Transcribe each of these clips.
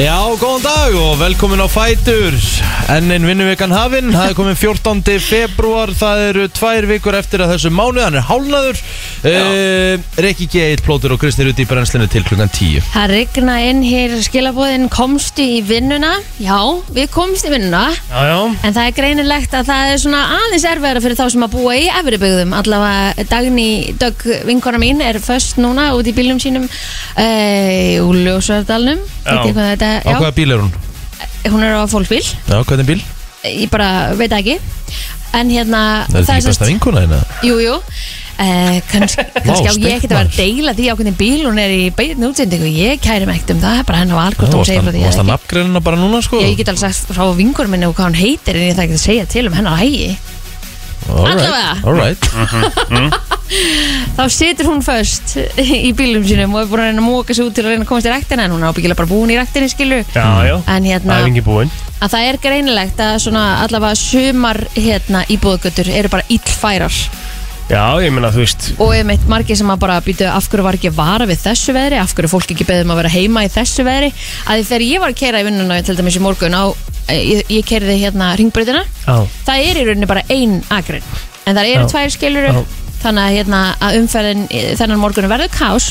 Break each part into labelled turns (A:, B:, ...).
A: Já, góðan dag og velkomin á Fætur Enn einn vinnuvikan hafinn Það er komin 14. februar Það eru tvær vikur eftir að þessu mánuð Hann er hálnaður uh, Rikki G. Eitt plótur og Kristnir út í brennslinu til klukkan 10
B: Það regna inn hér skilabóðin komstu í vinnuna Já, við komst í vinnuna
A: Já, já
B: En það er greinilegt að það er svona aðeins erfiðara fyrir þá sem að búa í efribyggðum. Allavega Dagný Dögg vinkona mín er föst núna út í bílum sínum eh, úr Ljósvördalnum. Þetta er hvað
A: Á
B: þetta,
A: hvaða bíl er hún?
B: já, hún er á fólksbíl.
A: Já, hvernig bíl?
B: Ég bara veit það ekki. En hérna,
A: Það er ekki besta vinkuna hérna
B: Jú, jú. Eh, kannski kannski á ég
A: steikt
B: ekkert að vera
A: maður.
B: að deila því á hvernig bíl hún er í beitin útsendingu. Ég kæri mig ekkert um það, bara henn á algort
A: Það
B: hún
A: varst
B: segir frá
A: að,
B: því.
A: varst
B: eða
A: að
B: ekki.
A: nafngreinina bara núna sko
B: Já, Ég get alveg sagt frá vingur minni og hvað hún heitir en ég það ekki að segja til um henn á hægi. Allavega.
A: All right
C: Mhm.
B: þá situr hún föst í bílum sínum og er búin að reyna að móka sig út til að reyna að komast í ræktina en hún er ábyggilega bara búin í ræktinni skilu
C: Já, já,
B: en hérna,
C: æfingi búin
B: að það er greinilegt að svona allavega sumar hérna íbúðgötur eru bara illfærar
C: Já, ég meina, þú veist
B: og ég meitt margir sem að bara býtu af hverju var ekki að vara við þessu veðri, af hverju fólk ekki beðum að vera heima í þessu veðri, að því þegar ég var að keira í vinnuna til dæmis í morgun á eh, ég, ég keiriði hérna ringbröðina
C: Já,
B: það er í rauninni bara ein akrin en það eru
C: Já.
B: tvær skilur
C: Já.
B: þannig að, hérna, að umferðin eh, þennan morgun verður kás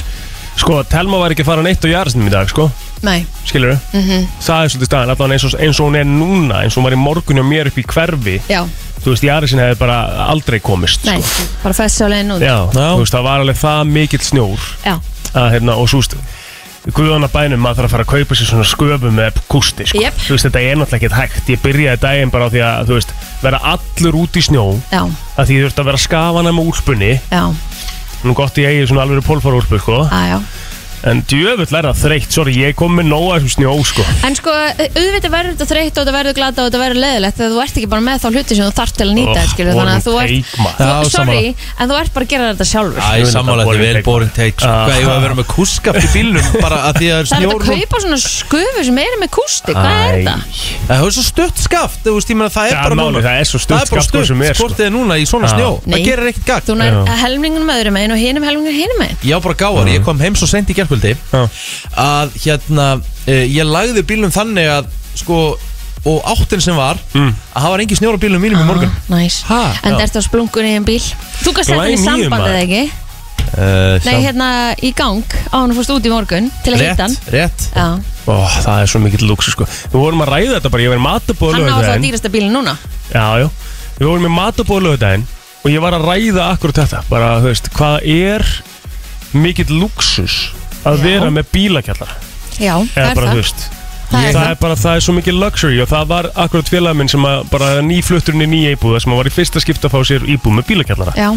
C: sko, Telma var ekki farin eitt á jarðsnum í dag, sko
B: Nei, Mhm.
C: Skilur Það er svolítið staðan, allan eins og, eins og hún er núna Eins og hún var í morgun og mér upp í hverfi
B: já,
C: Þú veist, jarðsin hefði bara aldrei komist,
B: nei,
C: sko
B: bara fæst sjálega nú
C: Já,
A: Já.
C: þú veist, það var alveg það mikill snjór
B: já,
C: að, hérna, Og svo veist, guðan að bænum Maður þarf að fara að kaupa sér svona sköfu með kústi, sko
B: Jep.
C: Þú veist, þetta er náttúrulega ekki hægt Ég byrjaði daginn bara á því að, þú veist Vera allur út í snjó
B: já,
C: að Því þú veist að vera skafana með úlpunni
B: já,
C: Nú gott ég eigi svona alveg pólfarúlpu, sko
B: að, Ah, já
C: En djöfull er það þreytt, sorry, ég kom með nóa þessum snjó, sko.
B: En sko, auðvitað verður þetta þreytt og þetta verður glata og þetta verður leðilegt þegar þú ert ekki bara með þá hluti sem þú þarft til að nýta
C: Oh,
B: oh, skilur, þannig að þú ert
C: boring take, maður.
B: þú,
A: Já,
B: Sorry, en þú ert bara að gera þetta sjálfur
A: Æ, samanlega þetta er vel boring take sko.
C: Ah.
A: Hvað ég var að vera með kúskap í bílnum bara að því að
B: Það er þetta
A: það er snjór
B: að kaupa svona sköfu sem eru með kústi, hvað er
C: Æ.
B: þetta?
A: Það er svo stutt skaft, þú veist, ég meina það
C: Það
A: er
C: er
A: bara
C: málið,
A: núna-
C: það er svo stutt
A: Það er bara
C: skaft hvað
A: stutt,
C: sem er, sko.
A: hvort þið er núna í svona
C: Já.
A: snjó
B: Nei.
A: Það gerir ekkert gagn
B: Þú nær
C: Já.
B: helmingunum öðrum einn og hinum helmingunum hinum einn
A: Ég á bara gáðar, ég kom heim svo sent í gerkvöldi
C: Já.
A: Að hérna, eh, ég lagði bílum þannig að Sko, og áttin sem var
C: Mm.
A: Að það var engin snjór á bílum mínum í morgun
B: Næs,
A: Ha,
B: Ah, en
A: já.
B: þetta er á splunkunni í einn bíl Þú kannst þetta í
C: Glæný,
B: samband
C: maður.
B: eða ekki?
A: uh,
B: Nei, hérna í gang á hann og fórst út í morgun til að hitta hann
A: Rétt, rétt
B: Já,
C: Ó, það er svo mikill lúksu, sko. Við vorum að ræða þetta bara, ég var í matabóð
B: hann á þá
C: lögudaginn.
B: dýrasta bílinn núna
C: Já, já. Við vorum í matabóð lögudaginn og ég var að ræða akkurat þetta. Bara, þú veist, hvað er mikill lúksus að
B: Já.
C: vera með bílakjallar?
B: Já, það
C: Eða
B: er
C: bara,
B: það
C: þú veist,
B: Það er
C: það
B: það
C: er bara, það er svo mikið luxury og það var akkurat félag minn sem að bara nýflutturinn í nýja íbúða sem að var í fyrsta skipta að fá sér íbúð með bílakjallara.
B: Já,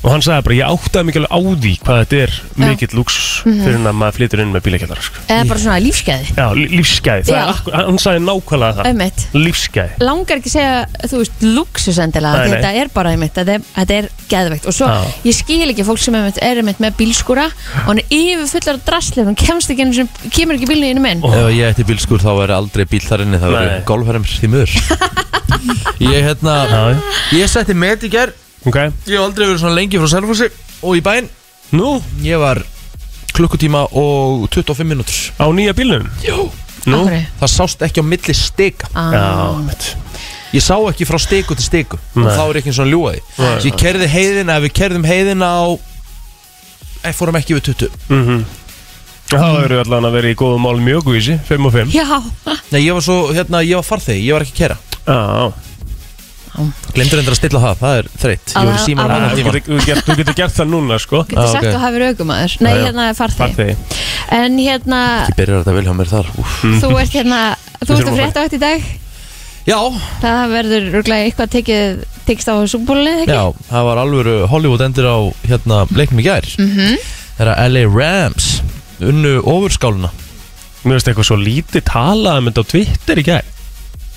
C: og hann sagði bara ég áttaði mikið alveg á því hvað þetta er mikill lúks fyrir en að maður flytur inn með bílakjallara sko.
B: Mhm. eða bara svona lífskeiði
C: Já, lí- lífsgæði, það er
B: Já.
C: akkur, hann sagði nákvæmlega það
B: Ömmit,
C: Lífsgæði
B: langar ekki að segja þú veist, luxus endilega
C: Nei, nei.
B: Þetta er bara einmitt, þetta er, þetta er geðveikt Og svo,
C: Já.
B: ég skil ekki fólk sem einmitt, er einmitt með bílskúra Og hann er yfir fullar af drasli Hún kemst ekki, einu sinni- kemur ekki bílinn innum inn
C: Ó.
A: Ef ég ætti bílskur þá væri aldrei bíl þar inni Það
C: Oh.
A: væri
C: Nei.
A: golfherrem því miður Ég hérna
C: Já,
A: Ég setti met í ger
C: ok
A: Ég hef aldrei verið svona lengi frá Selfossi Og í bæinn
C: Nú,
A: Ég var klukkutíma og 25 minútur
C: á nýja bílnum
A: Jó
C: Nú,
B: Af hverju?
A: Það sást ekki á milli steka
B: Ah.
C: já, mitt
A: Ég sá ekki frá steku til steku Og
C: Nei.
A: þá er ekki eins og hann ljúaði
C: Nei.
A: Ég kerði heiðina, ef við kerðum heiðina á Ég fórum ekki við 20
C: Mhm. Það eru allan að vera í góðum mál mjög guðsi, 5 og 5
B: Já,
A: Nei, ég var svo, hérna, ég var farþegi, ég var ekki að kera
C: Já,
A: Glemdur endur að stilla það, það er þreytt Ég var í
B: Að-
A: síman
B: að-
A: allan
C: þú
A: tíman
C: getur- þú getur- þú getur gert það núna sko
B: getur
A: Ah,
B: sagt
A: ok.
B: að hafa raukumæður Nei,
C: Já, já.
B: hérna er farþið
C: Farþegi
B: En hérna,
A: Ég byrjar þetta vel hjá mér þar Úf.
C: Mm.
B: þú ert hérna Þú
C: Við
B: ert að
C: þurfum að
B: frétta átt í dag
A: Já,
B: Það verður rúglega eitthvað tekið tekst á súbúlunni, ekki?
A: já, það var alvöru Hollywood endur á hérna, leiknum í gær mm
B: Mhm.
A: Þegar LA Rams unnu ofurskáluna
C: Mér veist eitthvað svo lítið talað um þetta á Twitter í gær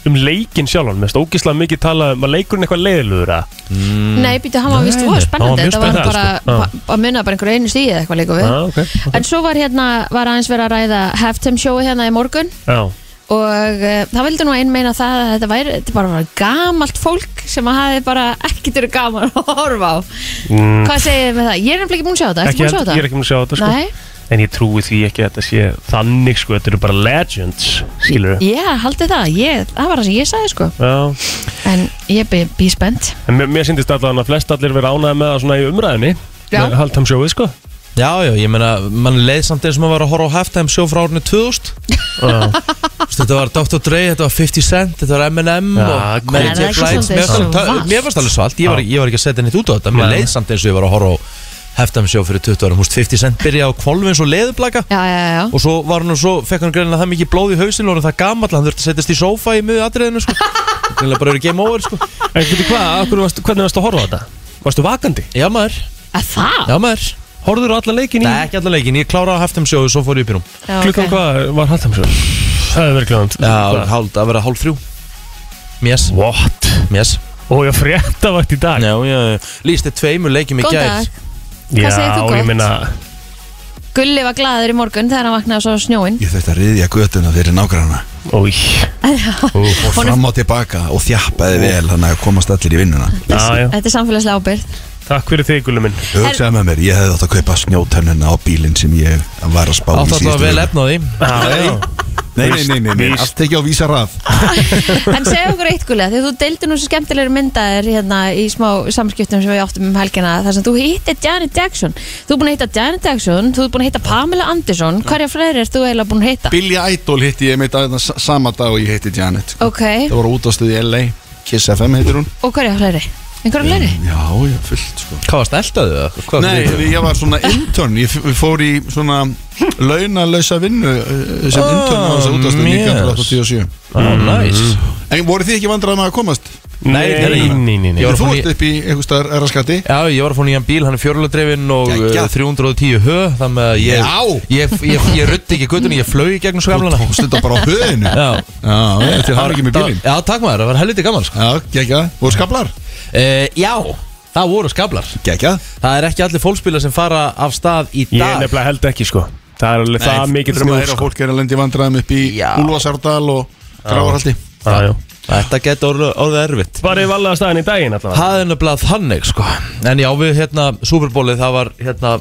C: Um leikinn sjálfan, mér veist ógislega mikið talað um að leikurinn eitthvað leiðilugur að Mm.
B: Nei, býtu, hann var
A: Nei,
B: vist
A: nei,
B: voða
A: hann var
B: spennandi
C: mjög
B: Þetta var
C: spennandi,
B: bara
C: sko. Já.
B: ba- að munna bara einhverju einu stíð eða eitthvað líka við
C: ah, okay.
B: En svo var hérna, var aðeins verið að ræða halftime show hérna í morgun
C: Já,
B: og uh, það vildi nú einn meina það að þetta væri þetta bara var gamalt fólk sem að hafi bara ekkert verið gaman að horfa á
C: mm,
B: Hvað segir þið með það? Ég er nefnilega Mm. ekki búin að sjá þetta, ertu búin að sjá
C: ég er
B: þetta?
C: ekki múin að sjá þetta sko
B: Nei,
C: En ég trúi því ekki að þetta sé þannig sko, þetta eru bara legends, skilur við.
B: Já, haldi það, ég, það var það sem ég sagði sko
C: Já,
B: En ég bý, bý spennt
C: en mér, mér syndist allavega að flest allir vera ánæði með það svona í umræðinni.
B: Já.
C: Haldtam sjóið sko.
A: Já, já, ég meina, mann leið samt eins og maður var að horfa á halftime sjó frá árinu 2000 Veistu, Þetta var Dr. Dre, þetta var 50 Cent, þetta var M&M
C: Já,
A: og
C: cool.
A: Mary
B: Er það
A: J.
B: ekki svolítið
A: Blige Mér fannst
B: svona
A: alveg-
B: valt?
A: mér fannst alveg svalt, ég var, ég var ekki að setja neitt út á þetta Mér
C: Nei.
A: leið samt eins og ég var að horfa á halftime sjó fyrir 20 ára Múst 50 Cent byrja á kvolfi eins og leðublaka
B: Já, já, já
A: Og svo var hann og svo fekk hann greinlega það mikið blóð í hausinu og það gamall, hann þurfti að setjast í sófa í miðu atriðinu sko. Greinlega bara verið game over sko.
C: En getur hvað, af hverju varstu, hvernig varstu að horfa á þetta? Varstu vakandi?
A: Já maður,
B: Að það?
A: já maður
C: Horður á alla leikin í?
A: Nei, ekki allan leikin, ég kláraði halftime sjó og svo fór ég upp í rúm
B: Já, ok.
C: Klukkan hvað var haldtam sjóið? Það hefur verið klukkan.
A: Já, hál, að vera hálf þrjú Mjess,
C: What?
A: mjess
C: Og ég frétta vart í dag.
A: Já, já, lísti tveimur leikjum í
B: Góðan
A: gær
B: dag. Hvað segir þú
C: Já,
B: gott?
C: ég meina,
B: Gulli var glaður í morgun þegar hann vaknaði svo snjóin
D: Ég þurfti að riðja götuna fyrir nágranna
C: ói.
D: og fram og tilbaka og þjappaði vel þannig að komast allir í vinnuna
C: Já, já.
B: Þetta er samfélagslega ábyrð
C: Takk fyrir þig, Gullu minn.
D: Ég hugsaði með mér, ég hefði átt að kaupa snjótennuna á bílinn sem ég var að spá í
A: Átt alltaf
D: síðustu
A: að vel
D: viku.
A: efnaði
C: Já, já.
D: Nei, nei, nei, nei, nei,
C: Víst.
D: allt ekki á vísa rað
B: En segja okkur eitt Gulli, af því að þú deildi nú svo skemmtilegri myndaðir hérna í smá samskiptum sem við áttum um helgina þar sem þú hittir Janet Jackson Þú er búin að hitta Janet Jackson, þú er búin að hitta Pamela Anderson Hverja fleiri ert þú eiginlega búin að hitta?
D: Billy Idol hitti ég mitt aðeins sama dag og ég hitti Janet
B: Ok,
D: Það voru út á stuði í LA, Kiss FM heitir hún
B: og hverja fleiri? Einhverja fleiri?
D: Já, já, fullt sko
A: Hvað var steltaðu það? Hvað
D: Nei,
A: var
D: ég var svona intern, ég f- fór í svona launalösa vinnu eh, sem
A: Ah,
D: intern á þessu útastuð
A: yes.
D: 1987
A: Ó, næs
D: Mm. En voru þið ekki vandræðum að komast?
A: Nei,
C: Nei, nei, nei, nei.
A: Ég var að
D: Þú
A: fá ný-
D: ert upp í einhver staðar erraskatti
A: Já, ég var að fá nýjan bíl, hann er fjöruladrefin og
D: Geggjað.
A: uh, 310 hö Þannig að ég
D: Já.
A: Ég, ég, ég rutti ekki guttunni, ég flög í gegnum skaflana
D: Þú tókst þetta bara á höðinu
A: Já
D: Já, já, til hann ekki með
A: Það-
D: bílinn
A: Já, takk maður, það var helviti gaman sko.
D: Já, gegja, voru skablar
A: uh, Já, það voru skaflar
D: Gegja
A: Það er ekki allir fólksbílar sem fara af stað í
C: Ég
A: dag
C: nefnilega held ekki, sko. Það er alveg það mikið
D: sem
C: drömmur,
D: er að
C: sko.
D: fólk er að lendi vandræðum upp í
A: Já.
D: Úlfasárdal og Gráarhaldi
C: Já, já.
A: Þetta getur orðið, orðið erfitt
C: Var ég vallega staðan í daginn allavega?
A: Það er nefnilega þannig sko En já við hérna Superbólið það var hérna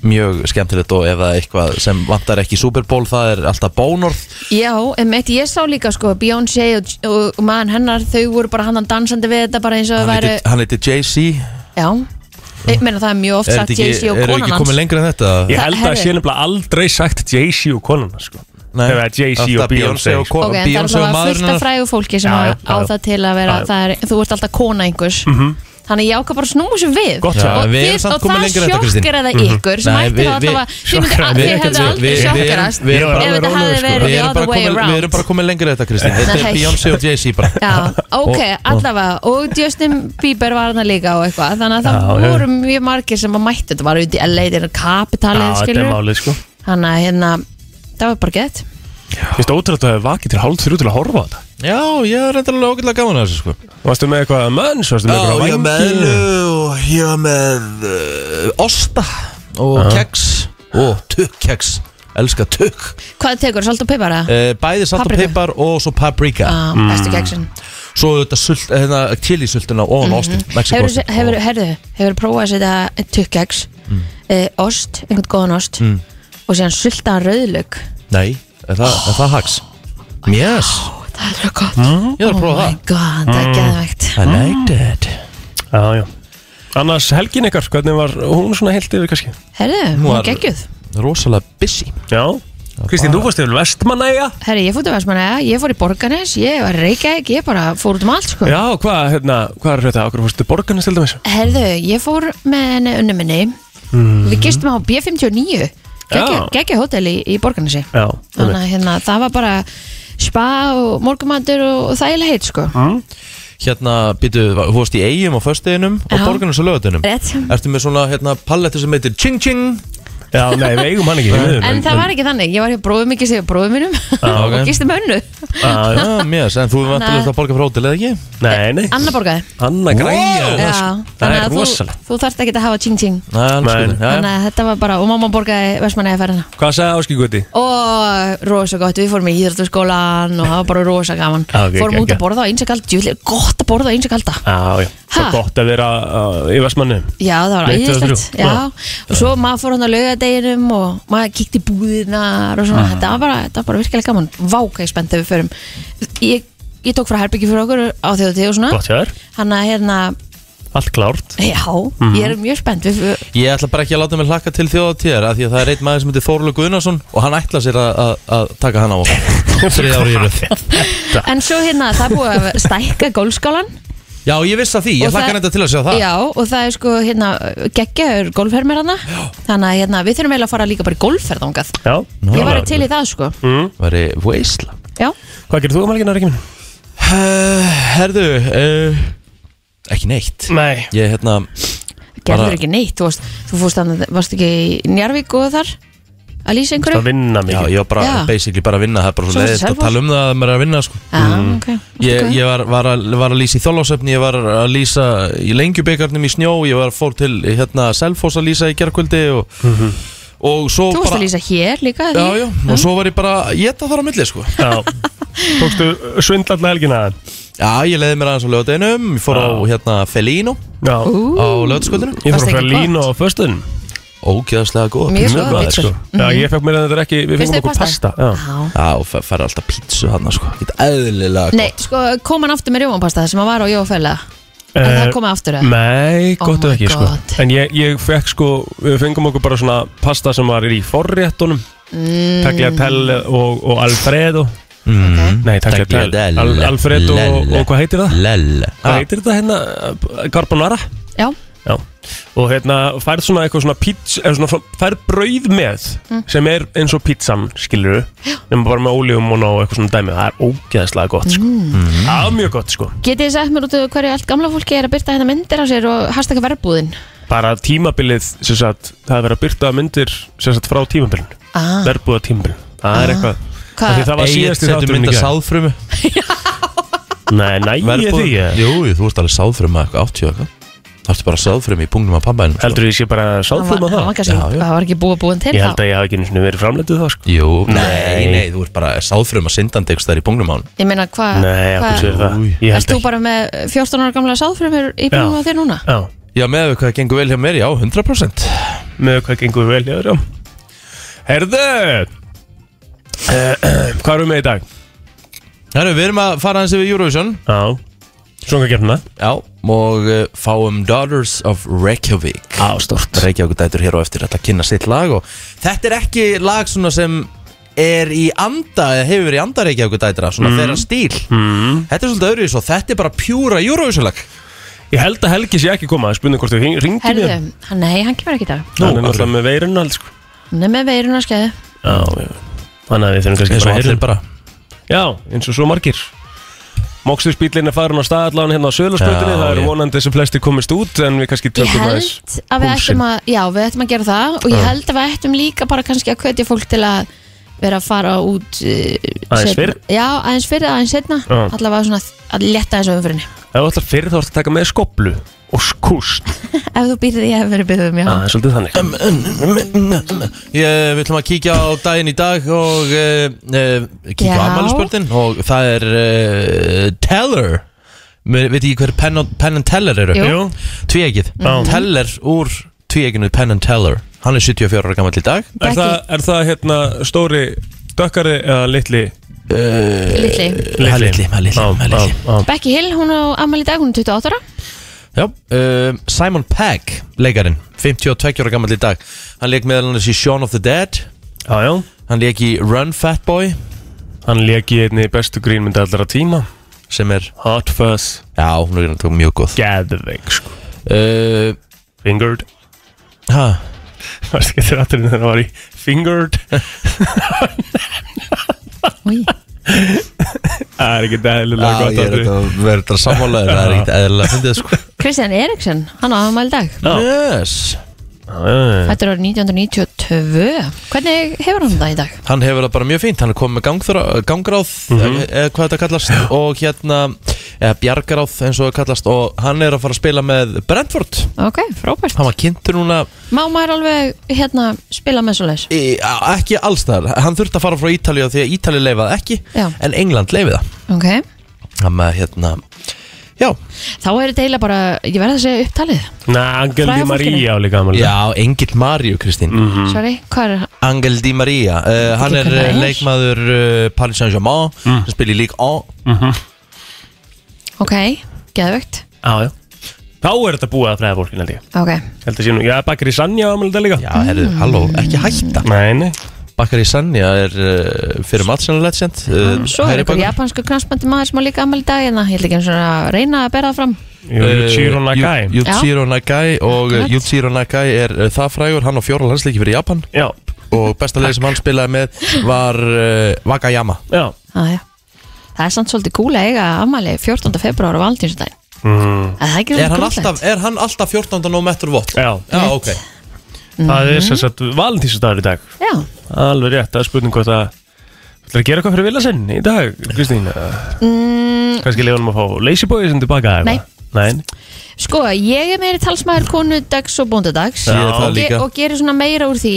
A: mjög skemmtilegt og ef það er eitthvað sem vantar ekki í Superból það er alltaf bónorð
B: Já, emitt, ég sá líka sko Beyoncé og, og mann hennar þau voru bara hann dansandi við þetta bara eins og það
A: Hann
B: væri
A: heitir- Hann heiti Jay-Z
B: Já, ég meina það er mjög oft
A: Er
B: sagt
A: þetta ekki,
B: Jay-Z og
A: er ekki
B: konan
A: komið
B: hans
A: lengra en þetta?
C: Ég held að
B: Herri.
C: sé nefnilega aldrei sagt Jay-Z og konuna, sko.
A: Nei.
C: Ef það er Jay-Z og
A: Alltaf
C: Beyoncé,
A: og
C: sko.
A: kon-
B: Ok, en það er
A: Beyoncé og
B: alltaf
A: maðurinn
B: fullt af
A: hennar.
B: frægu fólki sem
C: Já,
B: að-
C: já,
B: á
C: já, já.
B: það til að vera,
C: Já, já.
B: það er, þú ert alltaf kona einhvers Þannig ég ákvað bara að snúa sér við
C: Gott
B: og,
C: sagt.
A: Mhm. Já, við erum
B: þið,
A: samt
B: og
A: komin
B: það
A: lengra en þetta, Kristín. Mhm.
B: sjokkeraði ykkur sem
A: Nei,
B: ætti þá
A: við- við-
B: alltaf þið myndu
C: sjokkeraði
B: að þið
A: ekkert
B: hefðu
A: við-
B: aldrei
A: við- við-
B: sjokkerast ef þetta
A: við- við-
C: við-
B: hefði
C: við-
A: sko. Við
B: verið the other
A: erum bara
B: way
A: komin- Við
B: around
A: erum bara komið lengra en þetta Kristi Þetta er
B: Nei.
A: Beyoncé og Jay-Z bara
B: Já, ok,
A: og-
B: allavega og Justin Bieber var hana líka og eitthvað þannig að það
C: Já, já.
B: voru mjög margir sem að mættu þetta var út í LA, þetta er
C: Já,
B: kapitalið
C: þetta er
B: skilur,
C: málið, sko.
B: þannig að hérna það var bara gett
C: Mér finnst ótrúlega að það hefur vakið til hálf þrjú til að horfa á þetta
A: Já, ég er reyndar alveg ágætlega gaman að þessu sko
C: Varstu með eitthvað mönns, varstu með eitthvað
A: ég var með Ellu og ég var með uh, Osta og keks og tukkeks Elska tukk
B: Hvað tekur, salt og pipar eða?
A: Eh, Bæði salt og
B: Paprika.
A: pipar og svo paprika
B: Uh, mm. Bestu keksin
A: Svo þetta sult, hérna,
B: Mhm.
A: chilisöltuna ofan mm -hmm. ostin
B: Hefur,
A: Mexikostin
B: hefur, herðu, hefur prófað að setja tukkeks, mm. ost, einhvern góðan ost
A: Mm.
B: og síðan sultaðan rauðlaug
A: Nei, er það, er það hax? Yes, Mhm,
B: Það er svo gott mm.
A: ég þarf að
B: Oh
A: prófa
B: my
A: það
B: god, það er geðvægt
A: I like that
C: Já, já Annars helgin ykkar, hvernig var hún svona heilt yfir kannski?
B: Herðu, hún
A: var-
B: er geggjuð
A: Rosalega busy
C: Já Kristín, þú fórst yfir vestmannæja
B: Herri, ég fór til Vestmannaja, ég fór í Borganes, ég var í Reykjavík, ég bara fór út um allt sko.
C: Já, hvað, hérna, hvað er þetta? Okkur fórstu til borgarnas til dæmis?
B: Herðu, ég fór með henni unnu minni,
A: Mm.
B: við gistum á B59,
C: Já.
B: geggja hóteli í, í Borganesi.
C: Já,
B: Þannig að hérna, það var bara spa og morgumandur og, og þægilega heitt sko.
A: Hérna, býtu, þú varst í eigum á föstuðinum og
B: Já.
A: borgarnas á lögutinum
B: Rétt.
A: Ertu með svona hérna, palletti sem heitir Ching Ching
C: Já, nei, við eigum hann ekki við
B: En það var ekki þannig, ég var hjá bróðum ekki sem bróðum mínum
A: Ah, ok.
B: og gistum með önnu.
C: Já, já
A: Ah, Já, yes, en þú er vantilega að borga frá hótel eða ekki?
C: Nei, nei
B: Anna borgaði.
C: Anna græja
B: Já,
C: Það er
B: að þú,
C: rosalega
B: þú þarft ekki að hafa tjing tjing.
A: Nei, alls
C: Nei.
A: góður. Já, já.
B: Þannig að þetta var bara, og mamma borgaði Vestmannaja ferðina.
C: Hvað sagði Áskigutti?
B: og rosa gott, við fórum í íþjóttarskólan og það var bara rosa gaman
C: Já, ok,
B: fórum
C: ok,
B: út
C: ok.
B: að borða á einsakalda, djúlega gott að borða á einsakalda
C: Já, já Svo
B: Ha?
C: gott að vera uh, í vestmannu
B: já það var
C: Nei, tvö,
B: æðislegt
C: þrjú.
B: já. og svo maður fór hann að lauga deginum og maður kíkti í búðinar og svona, þetta var bara, þetta var bara virkilega gaman váka ég spennt ef við förum ég, ég tók frá herbyggi fyrir okkur á þjóðtíð og svona,
C: Gott hjá þér,
B: hann að hérna
C: allt klárt
B: já,
A: Mhm.
B: ég er mjög spennt við, við-
A: Ég ætla bara ekki að láta mig hlakka til þjóðatíðar af því að það er einn maður sem heitir Þorlu Guðnason og hann ætla sér að, að, að taka hann á þrið ári í röð
B: en svo hérna, það er búið að stækka gólfskálan
A: Já, ég viss að því,
B: Og
A: ég hlakka
B: það-
A: netta til að sjá það
B: já, og það er sko hérna, geggjaður gólfhermir hana þannig að hérna, við þurfum eiginlega að fara líka bara í gólfherð ángað
C: Já,
B: ég var til í það sko
C: mm.
A: Væri veisla
B: já,
C: Hvað gerir þú um helgina, Ríkjum?
A: Eh, Herðu, uh, ekki neitt
C: Nei
A: Ég hérna,
B: gerður
A: Bara-
B: ekki neitt þú varst, þú fórst annað, varst ekki í Njarvík og þar að lýsa einhverju
C: Það vinna
A: já,
C: mikið
A: ég var bara
B: Já.
A: basically bara að vinna Það er bara
B: Svo
A: svo
B: varstu
A: leiðist að
B: Selfoss?
A: tala um það að maður er að vinna sko.
B: ah,
C: Mm.
B: okay.
A: Ég, ég var, var, að, var að lýsa í þólássefni, ég var að lýsa í lengjubikarnum í snjó Ég var fór til hérna Selfoss að lýsa í gerkvöldi og,
C: Mhm.
A: og svo
B: þú varst
A: bara
B: að lýsa hér líka því?
A: Já, já, og svo var ég bara, ég þetta þar á milli sko
C: Já. Tókstu svindla alla helgina
A: Já, ég leiði mér aðeins á lögadeinum, ég fór á hérna Felino
C: Já
B: Ú,
A: á lögadskvöldinu
C: Ég
B: Varstu
C: fór frá
B: ekki
C: lína á föstudinn
A: Ógeðaslega góð
B: Mjög
C: Mjög
B: góðar
C: góðar,
B: pizzur.
C: sko. Já, ég fekk mér að þetta er ekki Við
B: Finnst
C: fengum
B: þér
C: okkur
B: pasta?
C: pasta Já
B: Já.
A: Já, og fær alltaf pítsu hann sko Get eðlilega
B: Nei, sko, kom hann aftur með rjómanpasta sem hann var á Jófælla En
C: Eh,
B: það komið aftur eða?
C: Nei,
B: Oh
C: gott
B: my
C: ef ekki sko
B: God.
C: En ég, ég fekk sko, við fengum okkur bara svona pasta sem var í forréttunum mm. Tagliatelle og, og Alfredo Mm.
B: Ok.
C: Nei, Tagliatelle,
A: Tagliatelle.
C: Al, Alfredo og,
A: Lelle. Ah.
C: og hvað heitir það?
A: Lell
C: Hvað heitir þetta hérna? Carbonara?
B: Já,
C: Já Og hérna færð svona eitthvað svona pizza eða svona fr- færð brauð með
B: Mm.
C: sem er eins og pizzan, skilur við nema bara með ólífum og ná eitthvað svona dæmi það er ógeðslega gott
B: Mm.
C: sko
A: Mm.
C: Það er mjög gott sko
B: getið þið sagt mér út af hverju allt gamla fólki er að byrta hérna myndir á sér og hashtag verbúðin
C: bara tímabilið sem sagt, það er verið að byrta myndir sem sagt, frá tímabilin
B: ah,
C: verbúða tímabilin það
A: Ah.
C: er eitthvað Af því
B: Hvað?
C: það var síðast í
A: Settu
C: þáttunum í
A: mynda
C: gær
A: sáðfrumu
C: nei, næ, ég því ég.
A: Jú, þú ert alveg sáðfrumu eitthvað, 80 eitthvað Það ertu bara sáðfrumu í pungnum af pabænum
C: heldur ég sé bara
B: Hann var-
C: sáðfum á
B: hann
C: það
B: var kannski-
A: Já, já.
B: Það var ekki búið búin til
C: ég
B: þá
C: held að ég hafi ekki einu sinni verið framleitu þá sko.
A: Jú,
C: Nei.
A: nei, nei, þú ert bara sáðfrumu að syndandi eitthvað í pungnum á hann
B: Ég meina, hvað
C: nei,
B: hva,
C: akkur sér það
A: Új.
C: ég
B: Erst
C: held
B: þú
C: ekki
B: bara með 14 ára gamla sáðfrumur í bílum
C: Já.
B: á þér núna?
C: Já,
A: Já, með við hvað gengur vel hjá mér, já, 100%
C: með hvað gengur vel hjá þér, já herðu uh, hvað erum við með í dag?
A: Herru, við erum að fara hans yfir Eurovision
C: já, svona gefna
A: Já, og uh, fáum Daughters of Reykjavík
C: á, stort
A: Reykjavík dætur hér og eftir ætla að kynna sitt lag og þetta er ekki lag svona sem er í anda, eða hefur verið í anda Reykjavík dætra, svona þeirra stíl
C: mm.
A: Þetta er svolítið öðruvis og þetta er bara pjúra Eurovision-lag
C: ég held að Helgi sé ekki koma spurning hvort þú hring- hringdi
B: Herðu,
C: mér
B: hann- nei, hann kemur ekki í dag
A: Nú,
C: hann er
A: alveg.
C: náttúrulega með veirun alls sko.
B: Hann er með veiruna skeiðu
C: Já, já. Þannig að við þurfum kannski bara að
A: eins og allir
C: heyrðum
A: bara
C: Já, eins og svo margir Móksturspílinn er farin á staðallan hérna á Söðlarsbröðinni
A: Já,
C: Það eru
A: já.
C: vonandi sem flesti komist út En við kannski
B: Ég
C: tökum aðeins
B: held að við
C: púlsinn.
B: ættum að Já, við ættum að gera það og ég held að við ættum líka bara kannski að hvetja fólk til að vera að fara út uh,
C: Aðeins
B: seinna.
C: fyrr?
B: Já, aðeins fyrr, aðeins setna
C: Já.
B: Allavega svona að letta þessu umfyrinni
C: Ef þú ætlar fyrir þá ertu að taka með skoplu Og skúst
B: Ef þú býrði ég hef verið byggðum, já
C: Það er svolítið þannig
A: Ég, eh, Við ætlum að kíkja á daginn í dag og uh, uh, kíkja á
B: Já.
A: amælisbörnin og það er uh, Teller Mér, Veit ég hver Penn, og- Penn and Teller eru?
B: Jú.
C: Jú, Mhm.
A: Tvíegið Teller úr tvíeginu Penn and Teller Hann er 74 ára gammal í dag
C: er það, er það hérna stóri dökkari eða litli
B: Litli
A: Hann er Eh, litli, hann er litli,
C: Já,
A: hann er
C: já,
A: litli.
C: já.
B: Becky Hill, hún á ammali dag, hún er 28 ára
A: Já, uh, Simon Pegg, leikarinn 52 ára gammal í dag Hann leik meðal annars í Shaun of the Dead
C: Já, já
A: Hann leik í Run Fat Boy
C: Hann leki einni bestu grínmyndi allra tíma
A: sem er,
C: Hot Fuzz
A: já, hún er náttúrulega mjög góð
C: Gæðveik sko
A: uh,
C: Fingered
A: ha,
C: Það skemmtir aðturinn þegar það var í Fingered
B: Új.
C: Það er ekki dæðilega gott
A: ég er
C: atriði.
A: þetta að vera þetta sammálaður Það er ekkert eðlilega fundið sko
B: Christian Eriksen, hann á ammali dag
C: Já.
A: yes.
C: Já,
B: Þetta er árið 1992 Hvernig hefur hann það í dag?
A: Hann hefur það bara mjög fínt Hann er komið með gangþrá- gangráð
C: Mhm.
A: eða- eða hvað þetta kallast og hérna, eða bjargaráð eins og það kallast og hann er að fara að spila með Brentford
B: Ok, frábært
A: Hann var kynntur núna
B: Má maður alveg hérna spila með svo leis
A: í, á- ekki allstar Hann þurfti að fara frá Ítalíu því að Ítalíu leifaði ekki
B: Já.
A: en England leifi það
B: Ok,
A: Hann með hérna Já,
B: Þá er þetta eiginlega bara, ég verði að segja upptalið
C: Næ, Angel
B: Fræga
C: Di Maria á líka Mhm. afmæli í dag.
A: já Engil Maríu Kristín
C: Mm.
B: Sorry, hvað er
A: Angel Di Maria uh, Hann er
B: hver það
A: uh,
B: er.
A: leikmaður uh, Paris Saint-Germain
C: Mm.
A: sem spilir lík á
B: Ok, geðvögt
C: Mhm. Já, já Þá er þetta búið að fræða fólkin held ég
B: Ok,
C: Held að sé nú, já, bakar í Sanja á ámælda líka
A: Já, herðu, halló, ekki hætta
C: Nei, nei
A: Bakkar í Sanja er uh, fyrir Matsen Legend uh,
B: Ah, svo er
A: hægri
B: einhver
A: bakvörður.
B: japansku knastmandi maður sem á líka ammæli dag hérna, ég ætla ekki einu sinni að reyna að bera það fram
C: Jú,
A: Eh,
C: Yuchiro Nagai
A: Yu- Yuichiro Nagai og eh,
B: Akkurat.
A: Yuichiro Nagai er uh, það frægur, hann á fjóra landsleiki fyrir Japan
C: Já,
A: og besta leið sem hann spilaði með var uh, Wakayama
C: já
B: ah, já. Það er samt svolítið cool að eiga ammæli 14. februar og valdinsdag
C: mm.
B: Það er ekki svolítið
A: er hann,
B: grútlegt
A: alltaf, er hann alltaf 14. november vott?
C: Já,
A: Já, ok
C: það
A: Mhm.
C: er sem sagt valentínsdagur í dag
B: Já,
C: Alveg rétt, það er spurning hvað það Það er að gera eitthvað fyrir vilja sinn í dag, Kristín mm. Kannski leiðum að fá Lazy Boy sem tilbaka eða
B: Nei.
C: eitthvað? Nei,
B: sko, ég er meiri talsmaður konudags og bóndadags
A: Ég er það
B: og,
A: líka.
B: og gerir svona meira úr því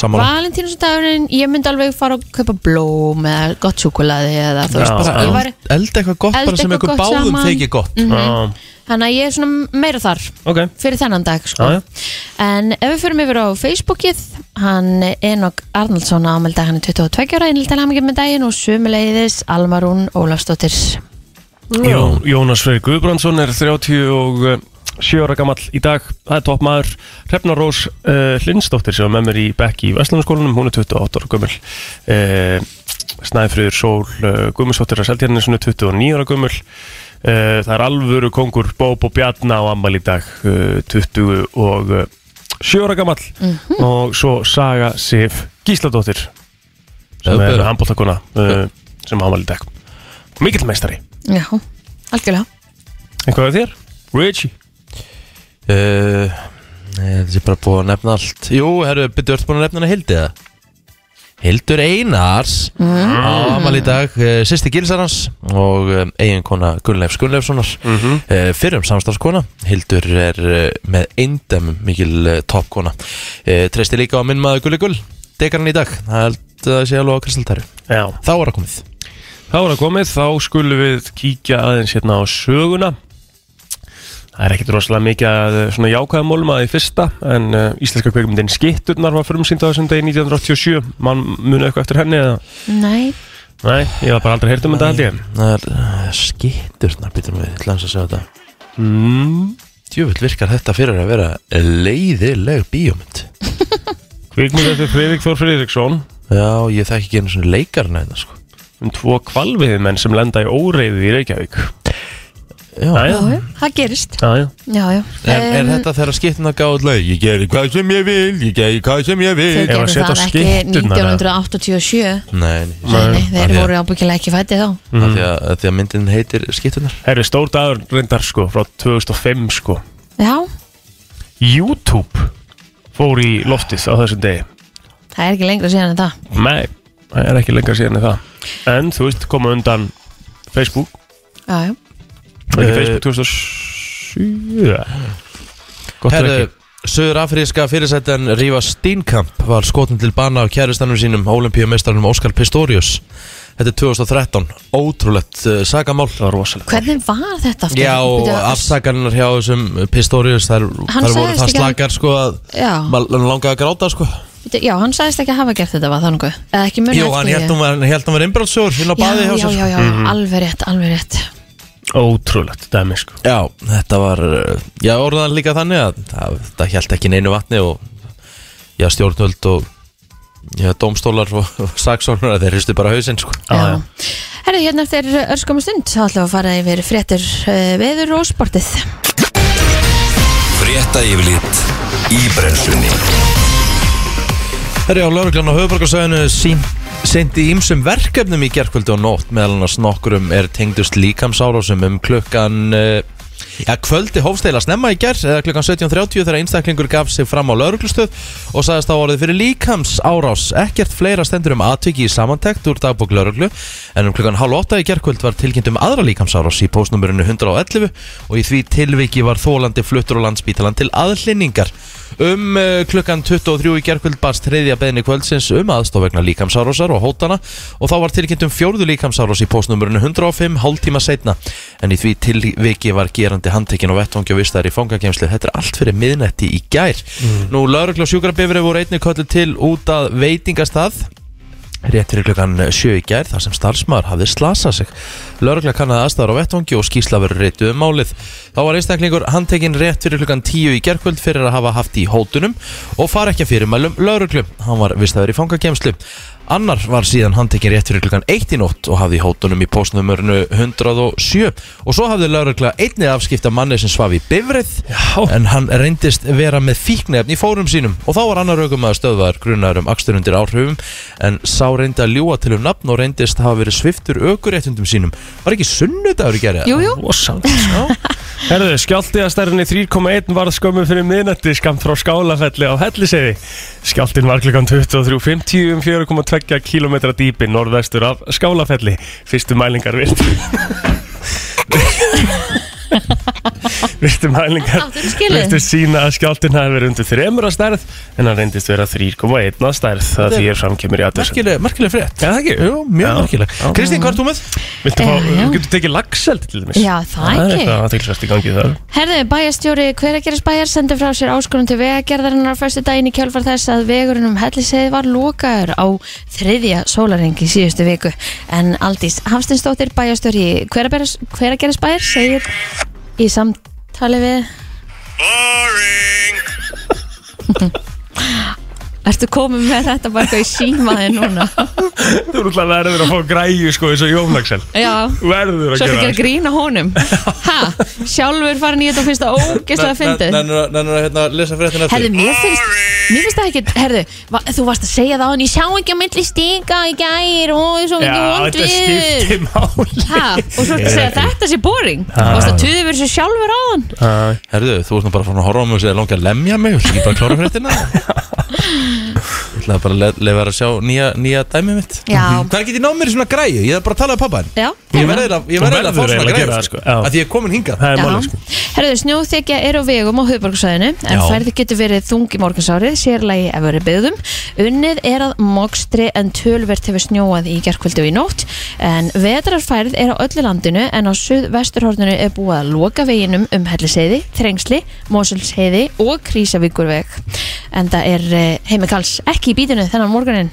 A: Sammála
B: Valentínusdagurinn, ég myndi alveg fara að kaupa blóm eða gott súkulaði eða þú veist
C: Já,
B: bara,
C: já.
B: ég var,
A: Eld eitthvað gott
B: Elda
A: bara sem
B: eitthvað
A: ykkur
B: gott
A: báðum
B: saman. Mhm.
A: þykir gott
C: mm.
B: þannig að ég er svona meira þar
C: ok
B: fyrir þennan dag sko.
C: Já, já.
B: en ef við fyrir yfir á Facebookið hann Enok Arnaldsson ámelda hann er 22 ára, einnig til hann ekki með daginn og sumuleiðis Almarún Ólafsdóttir
C: Jó, Jónas Freyr Guðbrandsson er 37 ára gamall í dag það er toppmaður Hrefna Rós uh, Lindsdóttir sem er með mér í bekk í Vestlunarskólanum hún er 28 ára gummul uh, Snæfriður Sól uh, Guðmundsdóttir að seltjarnir svona 29 ára gummul uh, það er alvöru kongur Bób og Bjarna á ammal í dag uh, 20 og uh, 7 ára gamall og svo Saga Sif Gísladóttir sem
A: Öfbera.
C: er handbóltakona uh, sem á ammal í dag mikill meistari
B: já, algjörlega
C: Eitthvað er þér? Richie
A: Uh, nei, Þetta er bara búið að nefna allt Jú, herru, byrju, ertu búin að nefna hana Hildi það? Hildur Einars á amal í dag, uh, sýsti gilsarans og um, eiginkona Gunnleifs Gunnleifssonar mm
C: Mhm.
A: -hmm. uh, fyrrum samstafskona, Hildur er uh, með eindæmum mikil uh, toppkona uh, treysti líka á minn maður Gulli Gull, dekar hann í dag það held að sé alveg á kristaltæru
C: Já
A: þá er það komið
C: Þá er það komið, þá skulum við kíkja aðeins hérna á söguna Það er ekkert rosalega mikið að eh, svona jákvæðamólum að í fyrsta en uh, íslenska kveikmyndin Skitturnar var frumsýnd á þessum degi 1987 mann muni eitthvað eftir henni eða
B: nei,
C: Nei, ég var bara aldrei heyrt um þetta held ég
A: það er uh, skitturnar, byrjum við, ætlaðum að segja þetta
C: mm,
A: Djúvill virkar þetta fyrir að vera leiðileg bíómynd
C: Kveikmynd eftir Friðrik Þór Friðriksson
A: Já, ég þekki ekki einu svona leikarna þetta sko
C: um tvo kvalviðmenn sem lenda í óreiði í Reykjavík
A: Já,
C: Jæja,
B: já, það gerist
C: jæja
B: já, já,
A: Er, er
B: Em,
A: þetta þegar skiptuna gáð lög? Ég geri hvað sem ég vil, ég geri hvað sem ég vil
B: þau
C: Ef að
B: gerðu
C: setja á
B: það ekki
C: skytturnar, eða?
B: 1987
A: Nei, nei,
B: Nei, nei,
A: Af
B: þeir
A: því að-
B: voru ábyggilega ekki fætti þá
A: af því að, af því að myndin heitir skiptunar
C: Mhm. Herri, stór dagur reyndar sko frá 2005 sko
B: Já,
C: YouTube fór í loftið á þessum degi
B: það er ekki lengra síðan en það
C: Nei, það er ekki lengra síðan en það En þú veist, koma undan Facebook
B: Já, já,
C: Var
A: Eh,
C: Ekki Facebook 2007 Gott er
A: Herru,
C: ekki
A: söður afríska fyrirsættan Ríva Steenkamp var skotin til bana af kjæristanum sínum Ólimpíumeistarnum Óskar Pistorius Þetta er 2013, ótrúlegt uh, sagamál
C: Það var rosalega
B: hvernig var þetta aftur?
A: Já, og
B: Bíddu,
A: afsakarinnar hjá þessum Pistorius, þær,
B: Hann
A: þær voru
B: sagðist
A: það
B: ekki að-
A: slakar sko að
B: Já,
A: maður langaði að gráta sko
B: bíddu, já, hann sagðist ekki að hafa gert þetta var það nokkuð Eða ekki munið
A: Jú, hann held hún var, hélt hún var innbrátsjóður hinn á
B: Já,
A: baði hjá
B: já,
A: sér sko. Mhm.
B: já, já, alveg rétt, alveg rétt
C: Ótrúlegt dæmi sko
A: Já, þetta var, uh, já, orðan líka þannig að það, það held ekki neinu vatni og já, stjórnvöld og já, dómstólar og, og saksóknar, þeir hristu bara hausinn, sko
C: Já, já.
B: Herðu, hérna eftir örskum stund þá ætlum við að fara yfir fréttir uh, veður og sportið
E: Frétta yfirlit í brennslunni
A: Herri á lauruglan á höfuborgarsöðinu sendi ímsum verkefnum í gerkvöldu og nótt meðal annars nokkurum er tengdust líkamsárásum um klukkan uh, Já, kvöldi hófsteila snemma í gerð eða klukkan 17.30 þegar einstaklingur gaf sig fram á lauruglustöð og sagðist á orðið fyrir líkams árás. Ekkert fleira stendur um atviki í samantekt úr dagbók lauruglu en um klukkan halv 8 í gerðkvöld var tilkynnt um aðra líkams árás í postnumurinu 111 og í því tilviki var þólandi fluttur á landsbítalan til aðlinningar. Um uh, klukkan 23 í gerðkvöld barst þriðja beðni kvöldsins um aðstof vegna líkamsárásar og hótana og þá var tilkynnt um fjórðu líkamsárás í postnumurinu 105 hálftíma setna en í því tilviki var gerandi handtekinn og vettvangi og vistar í fangakemslu þetta er allt fyrir miðnetti í gær Nú, laurugla og sjúkrabifri voru einnig kallið til út að veitingastað rétt fyrir klukkan 7 í gær þar sem starfsmaður hafði slasað sig. Lörgla kannaði aðstæðar á vettvangi og skýsla verið reytuð um málið. Þá var einstaklingur handtekinn rétt fyrir klukkan 10 í gærkvöld fyrir að hafa haft í hótunum og fara ekki að fyrirmælum lörglu. Hann var vistaður í fangakemslu. Annar var síðan handtekinn rétt fyrir klukkan 1 í nótt og hafði í hótunum í postnumörnu 107 og svo hafði lörgla einni afskipta manni sem svaf í bifrið en hann reyndist vera með fíknefn í fórum sínum og þá var annar aukum að stöðvar grunar um akstur undir áhrifum en sá reyndi að ljúa til um nafn og reyndist hafa verið sviftur aukuréttundum sínum var ekki sunnudagur í gerði?
B: Jú, jú,
C: Losand Herðu, skjálti að stærðinni 3,1 varð skömmu fyrir miðnætti skamt frá skálafelli á Helliseiði Skjáltin var klukkan 23.50 um 4,2 km dýpi norðvestur af skálafelli Fyrstu mælingar virt Fyrstu mælingar
B: áttu skilið
C: Viltu sína að skjáltin hafi verið undir 3 að stærð en hann reyndist vera 3,1 að stærð það því er framkemur í aðtöðsum
A: Merkileg, merkileg frétt
C: Já, það ekki?
A: Jú, mjög
C: Já.
A: merkileg
C: Já.
A: Kristín, hvað er þú með?
C: Viltu fá,
B: Eh, Já, já.
C: getur tekið lagselt til dæmis
B: Já, það
C: er
B: ekki.
C: eitthvað athyglisvert í gangi þar
B: Herðu, bæjastjóri Hveragerðisbæjar sendi frá sér áskonum til vegagerðarinnar á fyrstu daginn í kjálfar þess að vegurinn um Helliseiði var lokaður á þriðja sólarengi síðustu viku en Aldís Hafstinsdóttir bæjastjóri Hveragerðis- Hveragerðisbæjar segir í samtali við Ertu komið með þetta bara eitthvað í símaði núna?
C: Þú eru alltaf verður að fá græju sko eins og Jón Axel
B: Já,
C: Verður að
B: svo ertu
C: gera
B: ekki að grína honum Ha, sjálfur farin í þetta og finnst það ógeðslega að fyndið
A: Nennur að hérna, lesa fréttina
B: Herðu, mér finnst, mér finnst það ekki, herðu, va, þú varst að segja það en ég sjá ekki á milli stíka í gær og svo
C: Já,
B: mikið
C: þetta
B: vondviður.
C: skiptir máli
B: Ha, og svo ertu að segja að þetta sé boring.
C: Ha.
B: Varst að tuðu verið svo sjálfur á hann.
C: Æ,
A: Herðu, þú ert nú bara frá að horfa á mig og segja langi að lemja mig Þú ekki bara að klára fréttina Ég ætlaði bara að le- leifa þér að sjá nýja, nýja dæmið mitt
B: Já.
A: Mhm. Hvað er getið náð mér í svona græju? Ég er bara að tala um pappan
B: Já.
A: Ég verði eiginlega-
C: Þú
A: ég verði eiginlega að fá
C: verður eiginlega
A: svona
C: að
A: græju
C: gera það,
A: sko.
C: sko. Já.
A: Af Því ég er komin hingað
C: Það er
B: Já.
C: máli sko
B: Herðu, snjóþekja er á vegum á höfuborgsvæðinu en
A: Já.
B: færði getur verið þung í morgunsárið sérlægi ef verið byggðum. Unnið er að mokstri en tölvert hefur snjóað í gerkvöldu í nótt en vetrarfærð er á öllu landinu en á suðvesturhorninu er búið að loka veginum um Helliseiði, Þrengsli, Mosulsheiði og Krísavíkurveg en það er eh, Heimi Kalls ekki í bítinu þennan morgunin